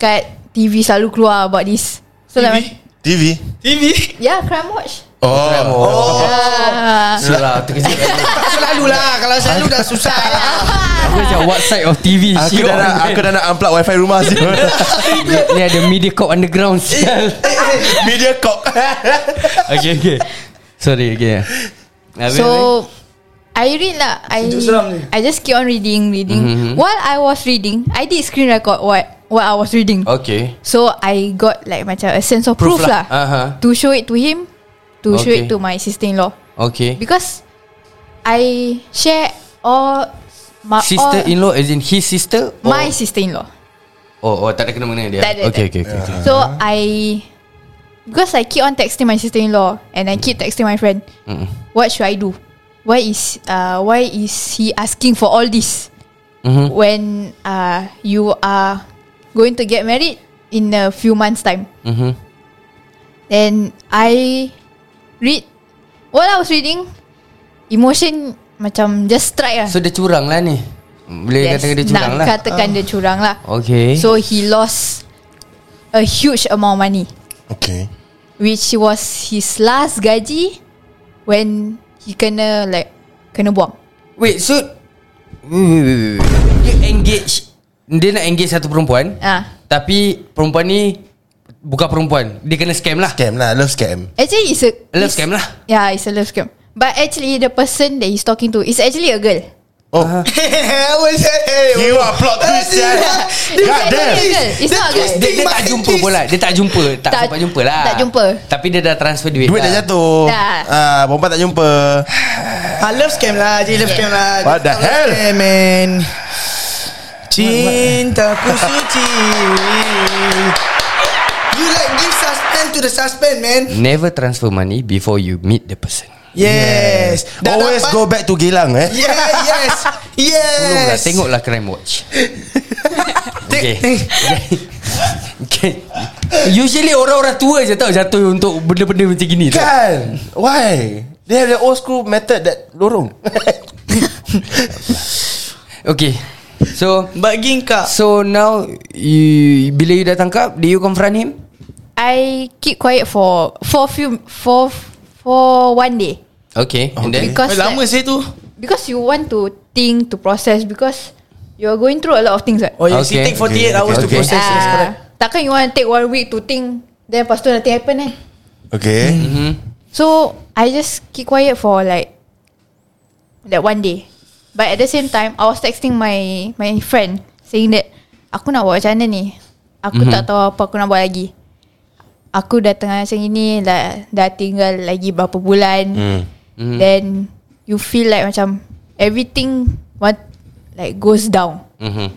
kat TV selalu keluar about this. So like TV mac- TV. TV yeah, crime watch. Oh. Selalu lah, terkejut. Selalu lah Kalau selalu dah susah lah Aku macam what side of TV Aku Sial. dah nak aku dah nak unplug wifi rumah sih. Ni ada Mediacorp underground sial. Media cop. Okay okay Sorry okay Habis, habis? So I read lah I Sejuk seram ni. I just keep on reading Reading Mhm. While I was reading I did screen record What what I was reading Okay So I got like macam A sense of proof, Proof lah. lah, Aha. To show it to him To show it Okay. to my sister-in-law Okay Because I share all my, all, Sister-in-law as in his sister or- My sister-in-law Oh, oh tak ada kena-mena dia Tak ada, Okay tak okay, okay. So I Because I keep on texting my sister-in-law And I keep texting my friend Mm. What should I do? Why is uh, Why is he asking for all this? Mhm. When uh, you are Going to get married In a few months time Mhm. Then I Read While I was reading Emotion Macam just strike lah So dia curang lah ni Boleh yes, Yes, katakan dia curang Nak lah Ah. katakan dia curang lah Okay So he lost A huge amount of money Okay. which was his last gaji when he kena like kena buang. Wait so wait, wait, wait, wait, wait. Dia engage Dia nak engage satu perempuan Ah, Tapi perempuan ni Bukan perempuan Dia kena scam lah Scam lah, love scam. actually it's a Love it's- scam lah Yeah, it's a love scam. But actually the person that he's talking to is actually a girl. Oh. Ah. You are plot twist. eh. sia. It's God actually damn. a girl. It's not a girl. dia, dia tak jumpa pun lah Dia tak jumpa Tak, Tak- sempat jumpa lah tak jumpa. Tapi dia dah transfer duit lah. Duit dah jatuh. Dah. Ah, perempuan tak jumpa. I love scam lah Jadi love scam lah What the hell? Hey man Cintaku suci You like give suspense to the suspense man Never transfer money Before you meet the person Yes Dah Ya. Always dapat- go back to Geylang eh. Yeah yes Tolonglah Yes Tengoklah Crime Watch Okay Okay Usually orang-orang tua je tau Jatuh untuk benda-benda macam gini tau. Kan? Why? They have their old school method that lorong. Okay So But geng kak So now you, Bila you dah tangkap Do you confront him? I keep quiet for for few for for one day Okay, okay. And then because Eh, Lama like, saya tu because you want to think to process because you are going through a lot of things. Right? Oh yes Okay. It take 48 Okay, okay, hours to okay. process Yes Ah, correct takkan you want to take one week to think then lepas tu nothing happen eh. Okay. mm-hmm. So I just keep quiet for like that one day. But at the same time, I was texting my my friend saying that aku nak buat macam mana ni. Aku mm-hmm. tak tahu apa aku nak buat lagi. Aku dah tengah macam ini dah, dah tinggal lagi berapa bulan. Mm. Mm. Then you feel like macam everything what like goes down. Mm-hmm.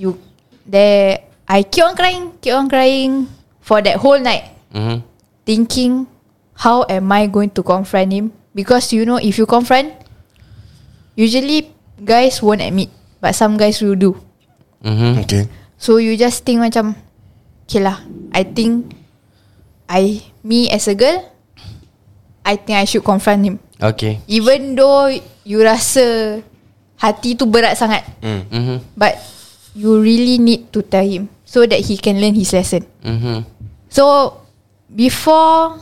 You there I keep on crying, keep on crying for that whole night Mm-hmm. thinking how am I going to confront him because you know if you confront usually guys won't admit but some guys will do Mm-hmm. Okay. So you just think macam Okay lah I think I Me as a girl I think I should confront him Okay Even though You rasa Hati tu berat sangat mm-hmm. But You really need to tell him So that he can learn his lesson Mm-hmm. So before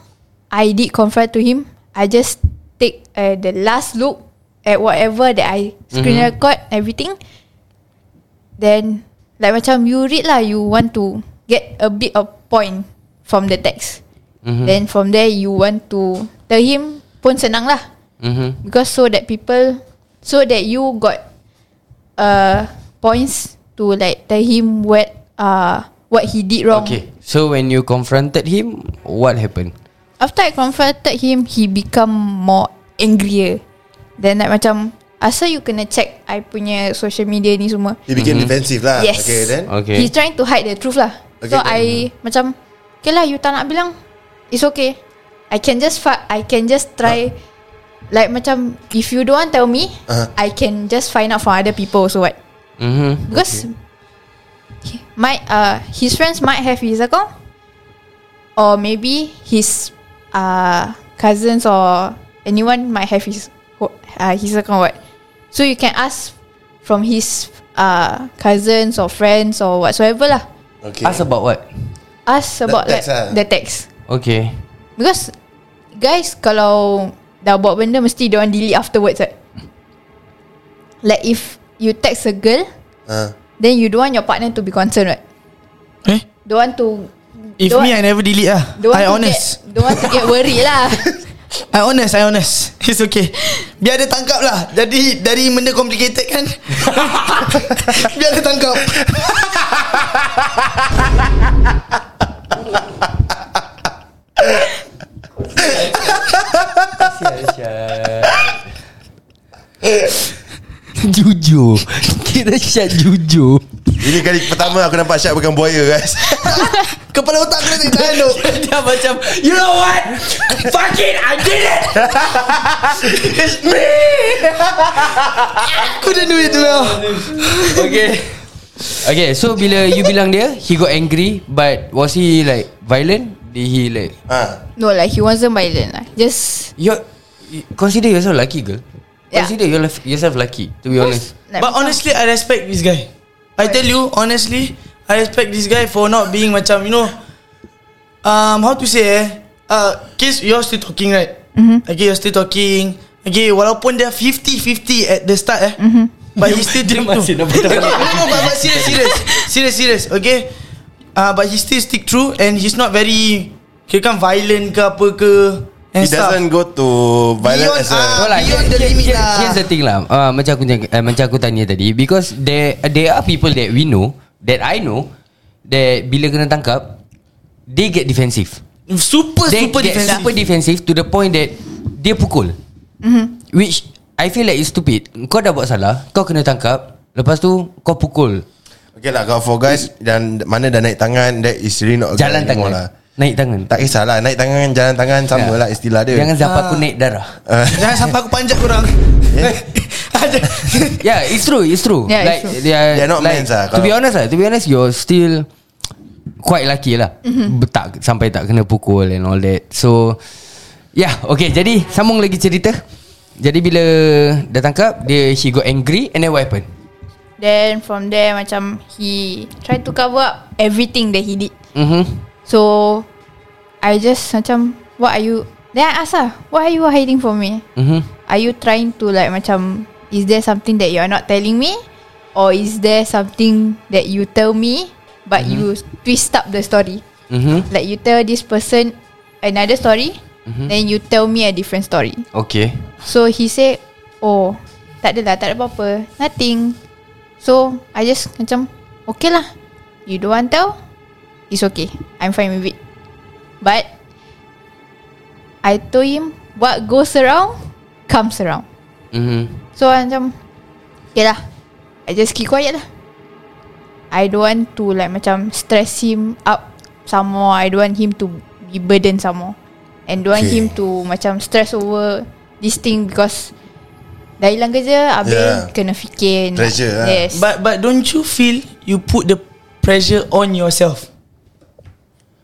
I did confront to him, I just take uh, the last look at whatever that I screen record everything. Then like macam you read lah, you want to get a bit of point from the text. Then from there you want to tell him pun senang lah Mm-hmm. because so that people so that you got uh points to like tell him what uh what he did wrong. Okay So when you confronted him What happened? After I confronted him He become more angrier Then like macam Asal you kena check I punya social media ni semua He became defensive lah. Yes Okay then. Okay. He's trying to hide the truth lah Okay, So then. I Macam Okay lah you tak nak bilang It's okay I can just fa- I can just try Like macam If you don't want tell me Ah. I can just find out From other people also what Mm-hmm. Because he- my uh his friends might have his account, or maybe his uh cousins or anyone might have his ho- uh, his account. What? So you can ask from his uh cousins or friends or whatsoever lah. Okay. Ask about what? Ask about text like ah. the text Okay because guys kalau dah buat benda mesti diorang delete afterwards. Right? Like if you text a girl, Uh, then you don't want your partner to be concerned, right? Eh? Don't want to If don't me, I want- never delete ah. don't want to I honest. get, Don't want to get worried lah I honest, I honest. It's okay. Biar dia tangkap lah. Jadi dari benda complicated kan. Biar dia tangkap. Jujur Kira Syed jujur ini kali pertama aku nampak Syed pegang buaya guys. Kepala otak kena tak tahan tu. Dia macam You know what Fuck it I did it Aku dah duit tu lah. Okay Okay so bila you bilang dia He got angry But was he like Violent Did he like ha. No lah He wasn't violent lah Just You Consider yourself lucky girl Yeah. Consider your, yourself lucky To be honest like, But honestly, I respect this guy. I tell you, honestly, I respect this guy for not being macam, you know, um, how to say eh, uh, Kiss, you're still talking, right? Mm-hmm. Okay, you're still talking. Okay, walaupun dia 50-50 at the start eh. Mm-hmm. But he still dia drink masih too. nak bertahan. Okay, no, no, but, but serious, serious. serious, serious, okay? Uh, but he still stick true and he's not very, kira kan violent ke apa ke. He And stuff. doesn't go to violent Beyond, as a ah. No lah, Beyond here- the here- limit here- lah. Here's the thing lah uh, Macam aku uh, macam aku tanya tadi Because there there are people that we know That I know That bila kena tangkap They get defensive Super, They super get defensive. super defensive To the point that Dia pukul mm-hmm. Which I feel like it's stupid Kau dah buat salah Kau kena tangkap Lepas tu Kau pukul Okay lah kalau for guys dan mana dah naik tangan that is really not a Jalan girl anymore tangan Naik tangan lah. Ya. Tak kisahlah naik tangan jalan tangan sama Ya. lah istilah dia. Jangan sampai aku naik darah Ah. Jangan sampai aku panjat korang Ada Yeah, Ya, it's true, it's true. Yeah, like it's true. They are, They are not like, mans lah, To be kalau- honest lah, to be honest, you're still quite lucky lah. Mm-hmm. Tak sampai tak kena pukul and all that. So, yeah, okay. Jadi sambung lagi cerita. Jadi bila dah tangkap, dia she got angry and then what happened? Then from there macam He tried to cover up Everything that he did Mm-hmm. So I just macam What are you Then I ask lah What are you hiding from me Mm-hmm. Are you trying to like macam Is there something that you are not telling me Or is there something That you tell me But you twist up the story Mm-hmm. Like you tell this person Another story Then you tell me a different story Okay. So he said Oh Tak adalah tak ada apa-apa Nothing So I just macam Okay lah You don't want tell It's okay I'm fine with it But I told him What goes around Comes around Mm-hmm. So I macam Okay lah I just keep quiet lah I don't want to like macam Stress him up Some more I don't want him to Be burdened some more And don't want Okay. him to Macam stress over This thing because Dah hilang kerja Habis Yeah. kena fikir nak- Pressure lah. Yes But but don't you feel You put the pressure on yourself.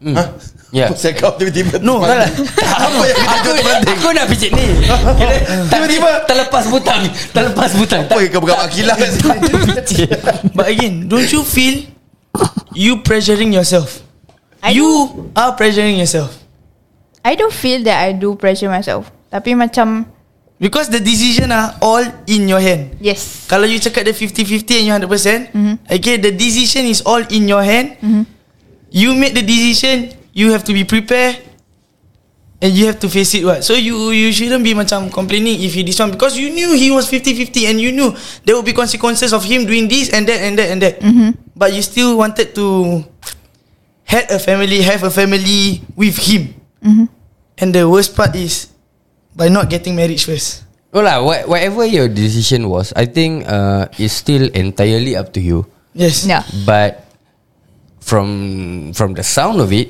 Huh? Yeah. Saya kau tiba-tiba Ya. No, tak lah. Apa yang kita penting Aku nak pijit ni Kira- Tiba-tiba. Terlepas butang Terlepas butang Apa yang kau berapa kilang But again, don't you feel you pressuring yourself? I you are pressuring yourself I don't feel that I do pressure myself Tapi macam because the decision are all in your hand. Yes Kalau you cakap the 50-50 and you 100%, okay, the decision is all in your hand. You make the decision, you have to be prepared and you have to face it what. So you you shouldn't be macam complaining if he this one because you knew he was 50-50 and you knew there will be consequences of him doing this and that and that and that. But you still wanted to had a family, have a family with him. And the worst part is by not getting married first. No lah what, Whatever your decision was I think uh, It's still entirely up to you Yes. Yeah But From From the sound of it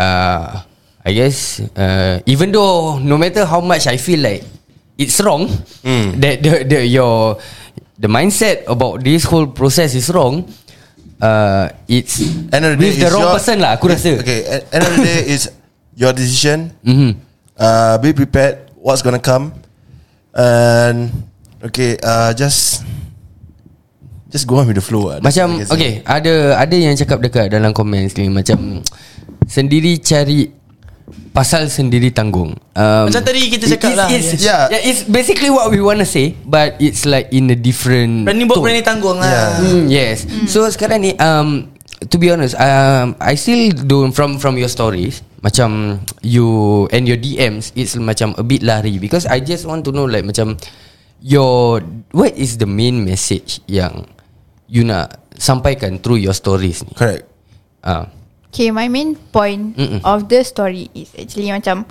uh, I guess uh, Even though No matter how much I feel like It's wrong mm. That the, the Your The mindset about this whole process is wrong uh, It's With the wrong person lah Aku rasa Okay at end of the day is Your decision Mm-hmm. uh, Be prepared What's gonna come And Okay uh, Just Just go on with the flow lah. That's what I Macam can say. Okay Ada ada yang cakap dekat Dalam komen ni Macam Sendiri cari Pasal sendiri tanggung um, Macam tadi kita cakap it's, lah, it's, yes. yeah. yeah It's basically what we want to say But it's like In a different Berani buat tone. berani tanggung lah. Yeah. Yeah. Mm, yes. So sekarang ni um to be honest, um I still don't from from your stories macam you and your DMs it's macam a bit lari because I just want to know like macam your what is the main message yang you nak sampaikan through your stories ni. Correct Ah. Okay, my main point Mm-mm. Mm-mm. of the story is actually macam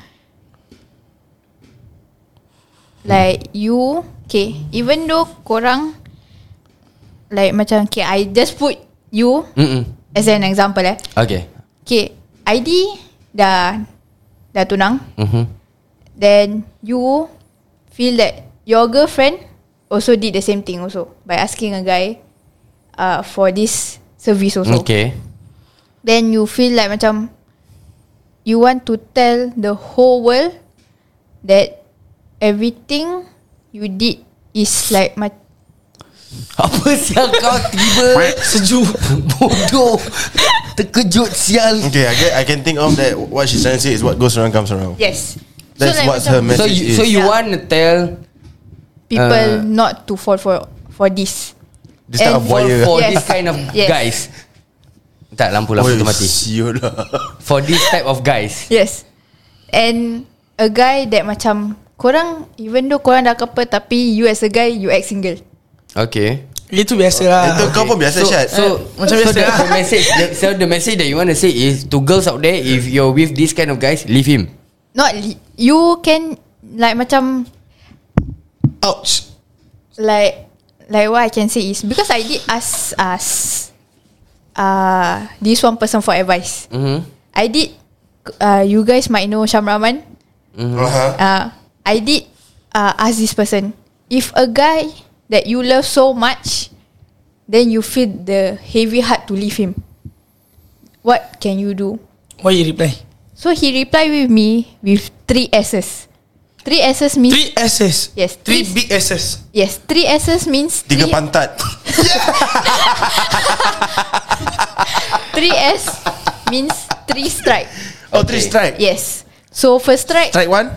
like you, okay, even though korang like macam okay, I just put you Uh. Mm. as an example eh. Okay. Okay, ID dah dah tunang, Mhm. then you feel that your girlfriend also did the same thing also by asking a guy uh, for this service also. Okay. then you feel like macam you want to tell the whole world that everything you did is like ma- Apa sial kau tiba sejuk bodoh terkejut sial. Okay I, get, I can think of that What she's trying to say Is what goes around comes around yes That's what's her macam message So you so is. you Yeah. want to tell people uh, not to fall for for this This type and of for, wire for Yes. this kind of Yes. guys Tak lampu lampu tu mati Siul lah For this type of guys yes and a guy that macam korang even though korang dah couple tapi you as a guy you act single Okay Eh, Itu biasa lah. Itu kau pun biasa So, Syed so, macam so biasa the, lah. the message the, So the message that you want to say is To girls out there If you're with this kind of guys Leave him not li- you can like macam Ouch. like like what I can say is because I did ask us uh this one person for advice. mm-hmm. I did uh you guys might know Shamraman. uh-huh. Uh I did uh ask this person if a guy that you love so much then you feel the heavy heart to leave him. What can you do? Why you reply? So he replied with me with three S's. Three S's means Three S's. Yes, Three three- big S's. yes, three S's means Tiga three- pantat 3S means three strike. Oh three strike Yes. So first strike, Strike one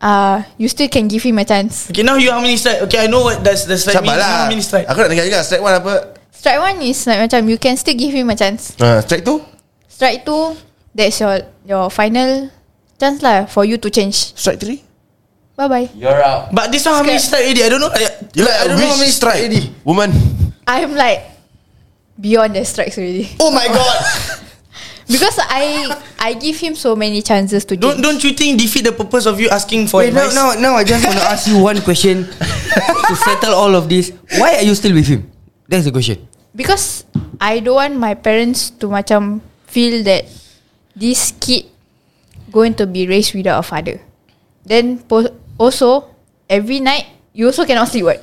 uh, you still can give him a chance. Okay, now you how many strike? Okay, I know what that's the strike Sabar means. lah How many strike? Aku nak dengar juga Strike one apa Strike one is like macam you can still give him a chance. uh, Strike two Strike two, that's your your final chance lah for you to change. Strike three Bye bye. You're out But this one how many strike already? I don't know. I, You like, I don't know how many strike strike already. Woman I'm like beyond the strikes already Oh my god. because I I give him so many chances to change. don't don't you think defeat the purpose of you asking for Wait no advice? no no I just want to ask you one question To settle all of this Why are you still with him? That's the question because I don't want my parents to macam feel that this kid going to be raised without a father. Then po- also every night you also cannot sleep what?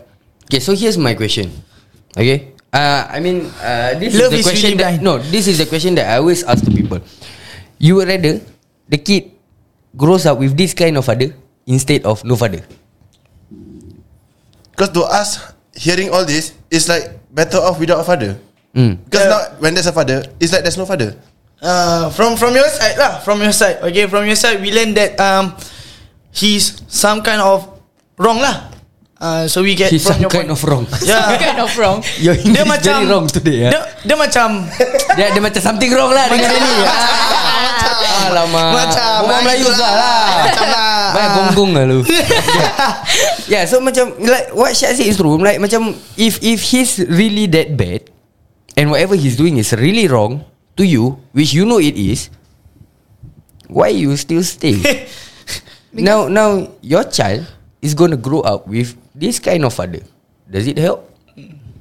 Okay so here's my question Okay Uh, I mean, uh, this Love is the is question really that blind. no, this is the question that I always ask to people. You would rather the kid grows up with this kind of father instead of no father. Because to us, hearing all this is like better off without a father. Mm. Because Yeah. now when there's a father, it's like there's no father. Uh, from from your side lah, from your side. Okay, from your side, we learn that um, he's some kind of wrong lah. Uh, so we get He's from some your kind point. of wrong. Some yeah. kind of wrong Your English Dia macam very wrong today. eh? Dia, Yeah. dia macam Dia, dia macam something wrong lah dengan ini. Ah, Alamak. Macam Orang macam Melayu lah. lah. lah. Macam lah. Baik Ah. gonggong lah lu. Yeah, so macam like what Syed said is true. Like macam if if he's really that bad and whatever he's doing is really wrong to you, which you know it is, why you still stay? now now your child is going to grow up with this kind of father. Does it help?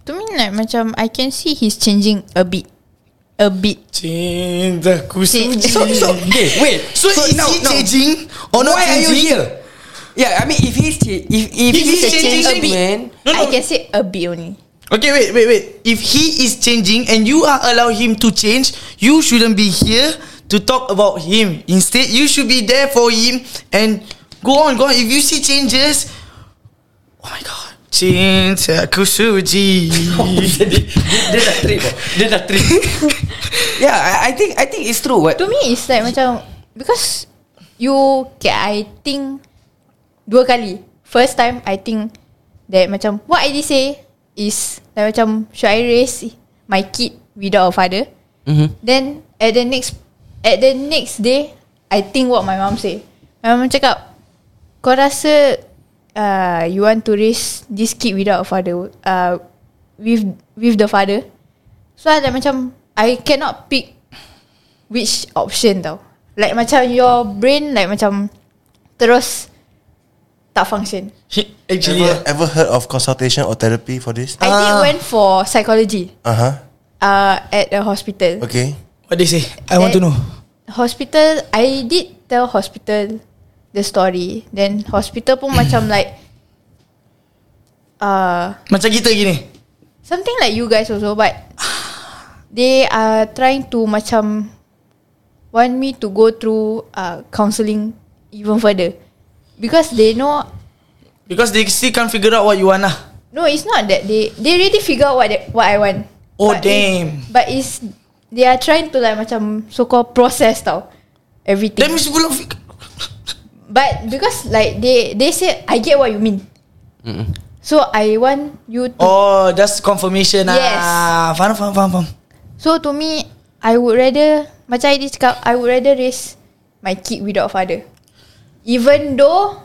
To me like macam I can see he's changing a bit A bit Cintaku senja So so okay, wait. So, is he changing Or not why are you Oh, changing? here? Yeah, I mean if he's cha- if if If he's he's, changing a a bit. man, No, no. I can say a bit only Okay wait wait wait If he is changing And you are allow him to change You shouldn't be here To talk about him Instead you should be there for him And Go on go on If you see changes Oh my god Cintaku suji dia dah trip. Dia dah trip. yeah, I, I think I think it's true. What? To me it's like macam Because You Okay I think Dua kali First time I think That macam What I did say Is Like macam Should I raise My kid Without a father Mhm. Then At the next At the next day I think what my mom say My mom cakap Kau rasa uh, You want to raise This kid without a father uh, With With the father So I like macam I cannot pick which option tau. Like macam your brain like macam terus tak function. Actually Ever, ever heard of consultation or therapy for this? I did Ah. went for psychology Uh huh. uh, at a hospital. Okay. What they say I want to That- know Hospital, I did tell hospital the story. Then hospital pun macam like uh, Macam kita gini something like you guys also but they are trying to macam want me to go through uh, counselling even further because they know Because they still can't figure out What you want lah no it's not that they they already figure out what they, what I want Oh, But it's- damn. but it's they are trying to like macam so called process tau everything That means you belum figure But because like they they say I get what you mean. So I want you to Oh just confirmation lah Yes. Ah, Faham faham faham faham So to me I would rather Macam I did cakap I would rather raise My kid without father Even though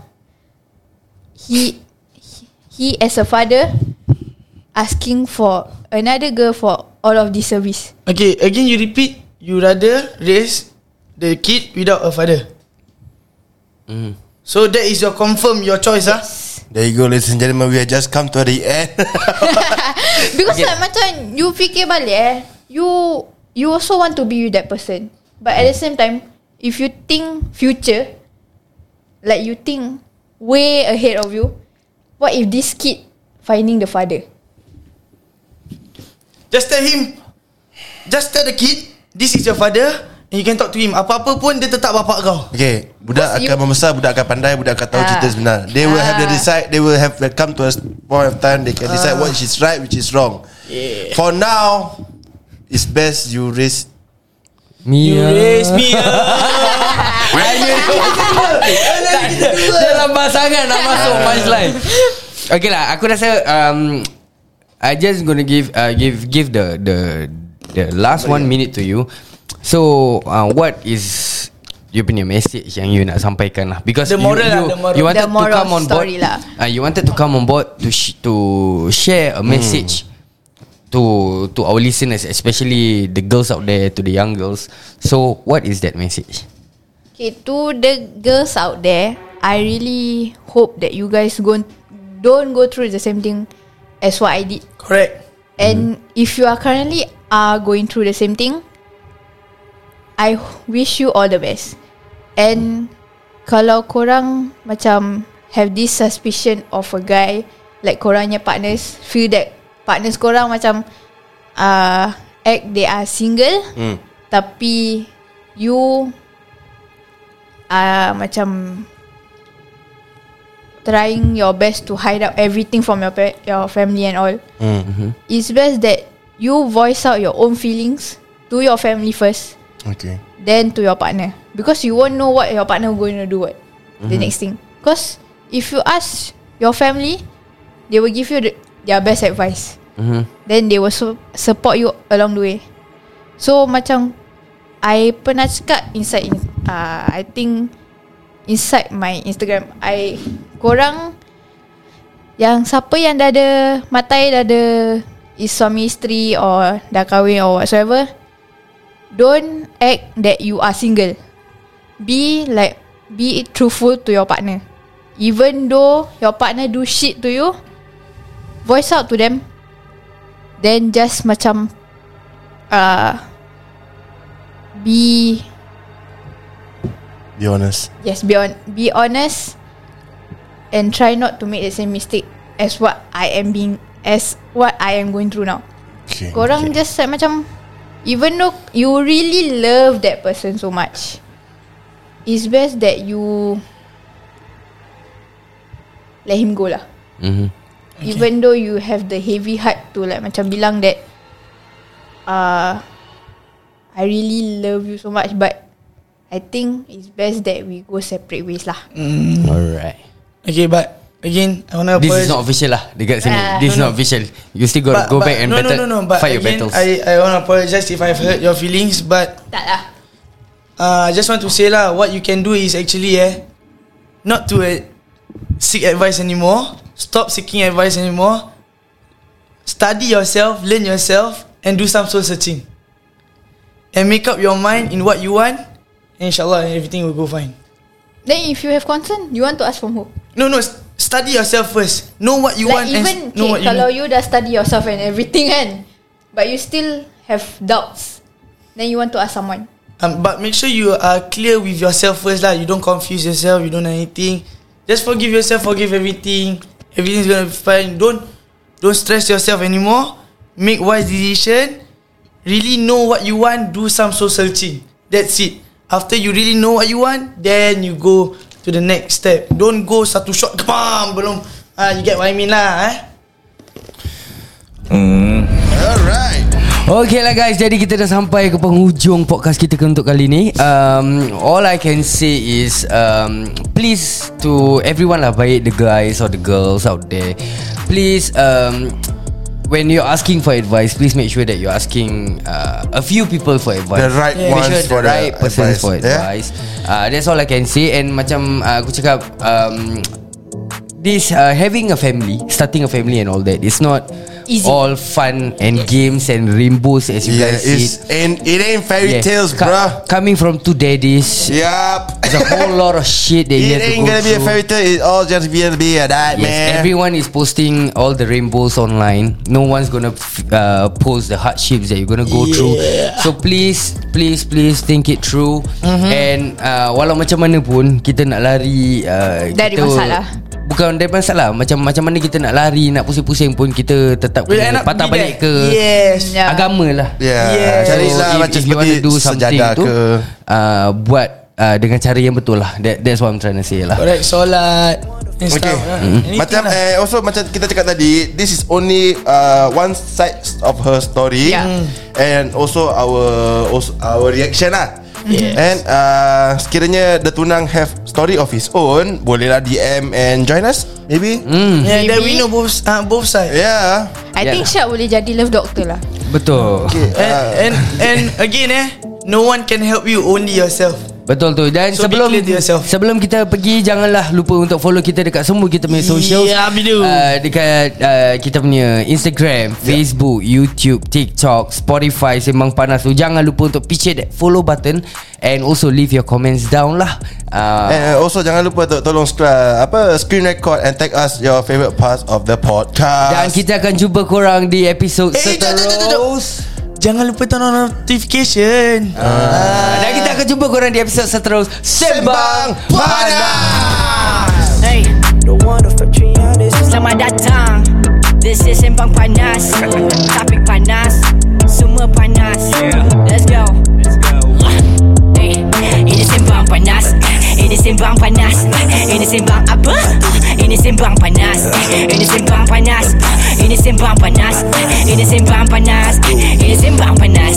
He he- He as a father Asking for Another girl for All of this service Okay, again you repeat. You rather raise the kid without a father. Mm-hmm. So that is your confirm your choice, ah. There you go, ladies and gentlemen. We have just come to the end. Because like macam You fikir balik eh You You also want to be with that person But at the same time If you think Future Like you think Way ahead of you What if this kid Finding the father Just tell him. Just tell the kid this is your father and you can talk to him. Apa-apa pun dia tetap bapak kau. okay, budak Because you- akan membesar, budak akan pandai, budak akan tahu Ah. cerita sebenar. They will have the Ah. decide. They will have come to a point of time. They can Ah. decide what is right, which is wrong. For now, it's best you raise. You raise me ah. up. Dia lambat sangat nak masuk punchline Okay lah Aku rasa um, I just gonna give uh, Give give the The the Oh, last one minute to you So uh, What is You punya message Yang you nak sampaikan lah Because The moral you, you, lah, the moral. you wanted The moral to come on board story lah. uh, You wanted to come on board To sh- to share a Hmm. message To to our listeners Especially the girls out there To the young girls So what is that message? Okay, to the girls out there, I really hope that you guys go don't go through the same thing as what I did. Correct. And if you are currently are going through the same thing, I wish you all the best. And kalau korang macam have this suspicion of a guy, like korangnya partners, feel that partners korang macam uh, act they are single mm. tapi you uh, macam trying your best to hide up everything from your pa- your family and all. Mm-hmm. It's best that you voice out your own feelings to your family first, Okay. then to your partner because you won't know what your partner going to do what the next thing. Because if you ask your family, they will give you the, their best advice. Then they will su- support you along the way. So macam I pernah cakap inside in, uh, I think inside my Instagram I korang yang siapa yang dah ada matai dah ada is suami isteri or dah kahwin or whatsoever don't act that you are single be like be truthful to your partner even though your partner do shit to you voice out to them then just macam uh, be Be honest. Yes, be on, be honest and try not to make the same mistake as what I am being as what I am going through now. Okay. Korang okay. just like macam even though you really love that person so much, it's best that you let him go lah. Mm-hmm. Even though you have the heavy heart to like macam bilang that uh, I really love you so much but I think it's best that we go separate ways lah. Alright Okay, but again, I wanna This is apologize. not official lah Dekat sini Ah, This is no, not official You still gotta go back and no, battle no, no, no. But Fight your again, battles I I wanna apologize if I've hurt your feelings, but Tak lah. uh, I just want to say lah, what you can do is actually eh, not to eh, seek advice anymore. Stop seeking advice anymore. Study yourself, learn yourself, and do some soul searching. And make up your mind in what you want. And inshallah, everything will go fine. Then if you have concern, you want to ask from who? No, no. s- Study yourself first. Know what you like want. even and s- know okay, what you kalau need. you dah study yourself and everything kan, but you still have doubts, then you want to ask someone. Um, but make sure you are clear with yourself first lah. You don't confuse yourself. You don't anything. Just forgive yourself. Forgive everything. Everything's gonna be fine. Don't don't stress yourself anymore. Make wise decision. Really know what you want. Do some soul searching. That's it. After you really know what you want, then you go to the next step. Don't go satu shot. Bam, belum. Ah, you get what I mean lah. Eh? Alright. Okay lah guys Jadi kita dah sampai ke penghujung podcast kita untuk kali ni um, All I can say is um, Please to everyone lah Baik the guys or the girls out there Please um, When you're asking for advice Please make sure that you're asking uh, A few people for advice The right Make ones sure for the the right advice, persons for yeah? advice uh, That's all I can say And macam uh, aku cakap um, This uh, having a family, starting a family and all that, it's not Easy. all fun and games and rainbows as you Yeah, guys see. it's, and it ain't fairy Yeah. tales, Co- bruh. Coming from two daddies, Yup. there's a whole lot of shit that you It have to ain't go gonna be a through. fairy tale. It all just gonna be a yes, nightmare. everyone is posting all the rainbows online. No one's gonna f- uh, post the hardships that you're gonna go through. So please, please, please think it through. Mm-hmm. And uh, walau macam mana pun kita nak lari uh, Dari kita, masalah. Bukan dari masalah Macam macam mana kita nak lari Nak pusing-pusing pun Kita tetap We'll end kena up patah be balik ke there. Yes. Yeah. agama lah Yeah. Yeah. Carilah if, macam if you want to seperti do something sejadah tu ke. uh, Buat uh, dengan cara yang betul lah That, That's what I'm trying to say lah Correct. Solat. and stuff, Mm. Okay. ah. Anything Macam lah. eh, also macam kita cakap tadi, this is only uh, one side of her story Yeah. Mm. and also our also our reaction lah. And uh, sekiranya the tunang have story of his own, bolehlah DM and join us maybe. Yeah, then Maybe. we know both uh, both sides. Yeah. I Yeah. think Syak boleh jadi love doctor lah. Betul okay. And, Uh, and and again eh No one can help you Only yourself Betul tu Dan So, be sebelum clear to yourself. sebelum kita pergi janganlah lupa untuk follow kita dekat semua kita Ya, punya social Yeah, bidu. uh, dekat uh, kita punya Ya. Instagram, Facebook, YouTube, TikTok, Spotify Sembang Panas tu jangan lupa untuk picit that follow button and also leave your comments down lah. Eh, Uh, And also jangan lupa to, tolong scr- apa screen record and tag us your favorite parts of the podcast. dan kita akan jumpa korang di episod Eh, jom, jom, jom, jom, jom. seterus. Jangan lupa turn on notification Ah, Dan kita akan jumpa korang di episod seterus Sembang Panas. Hey, The one of Fatrianis selamat datang This is Sembang Panas Topik panas sembang panas Eh, Ini sembang panas Eh, Ini sembang panas Eh, Ini sembang panas Eh, Ini sembang panas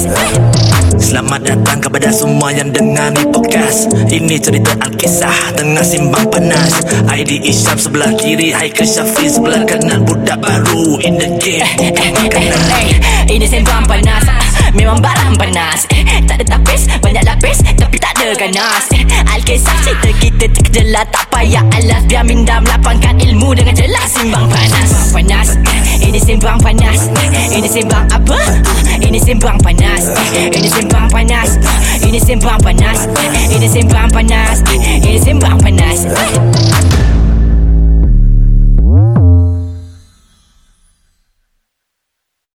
Selamat datang kepada semua yang dengar ni podcast Ini cerita Alkisah tengah simbang panas ID Isyam sebelah kiri Haikal Syafi sebelah kanan Budak baru in the game Eh, eh, eh, eh, Ini sembang panas Ah, Memang barang panas Eh, Tak ada tapis Banyak lapis Tapi tak ada ganas Eh, Alkisah cerita kita terkejelah Tak payah alas Biar minda melapangkan ilmu Dengan jelas Simbang panas Sembang panas Eh, Ini sembang panas Eh, Ini sembang apa? Ah, Ini sembang panas Eh, Ini sembang panas Ah, Ini sembang panas Eh, Ini sembang panas Eh, Ini sembang panas Eh,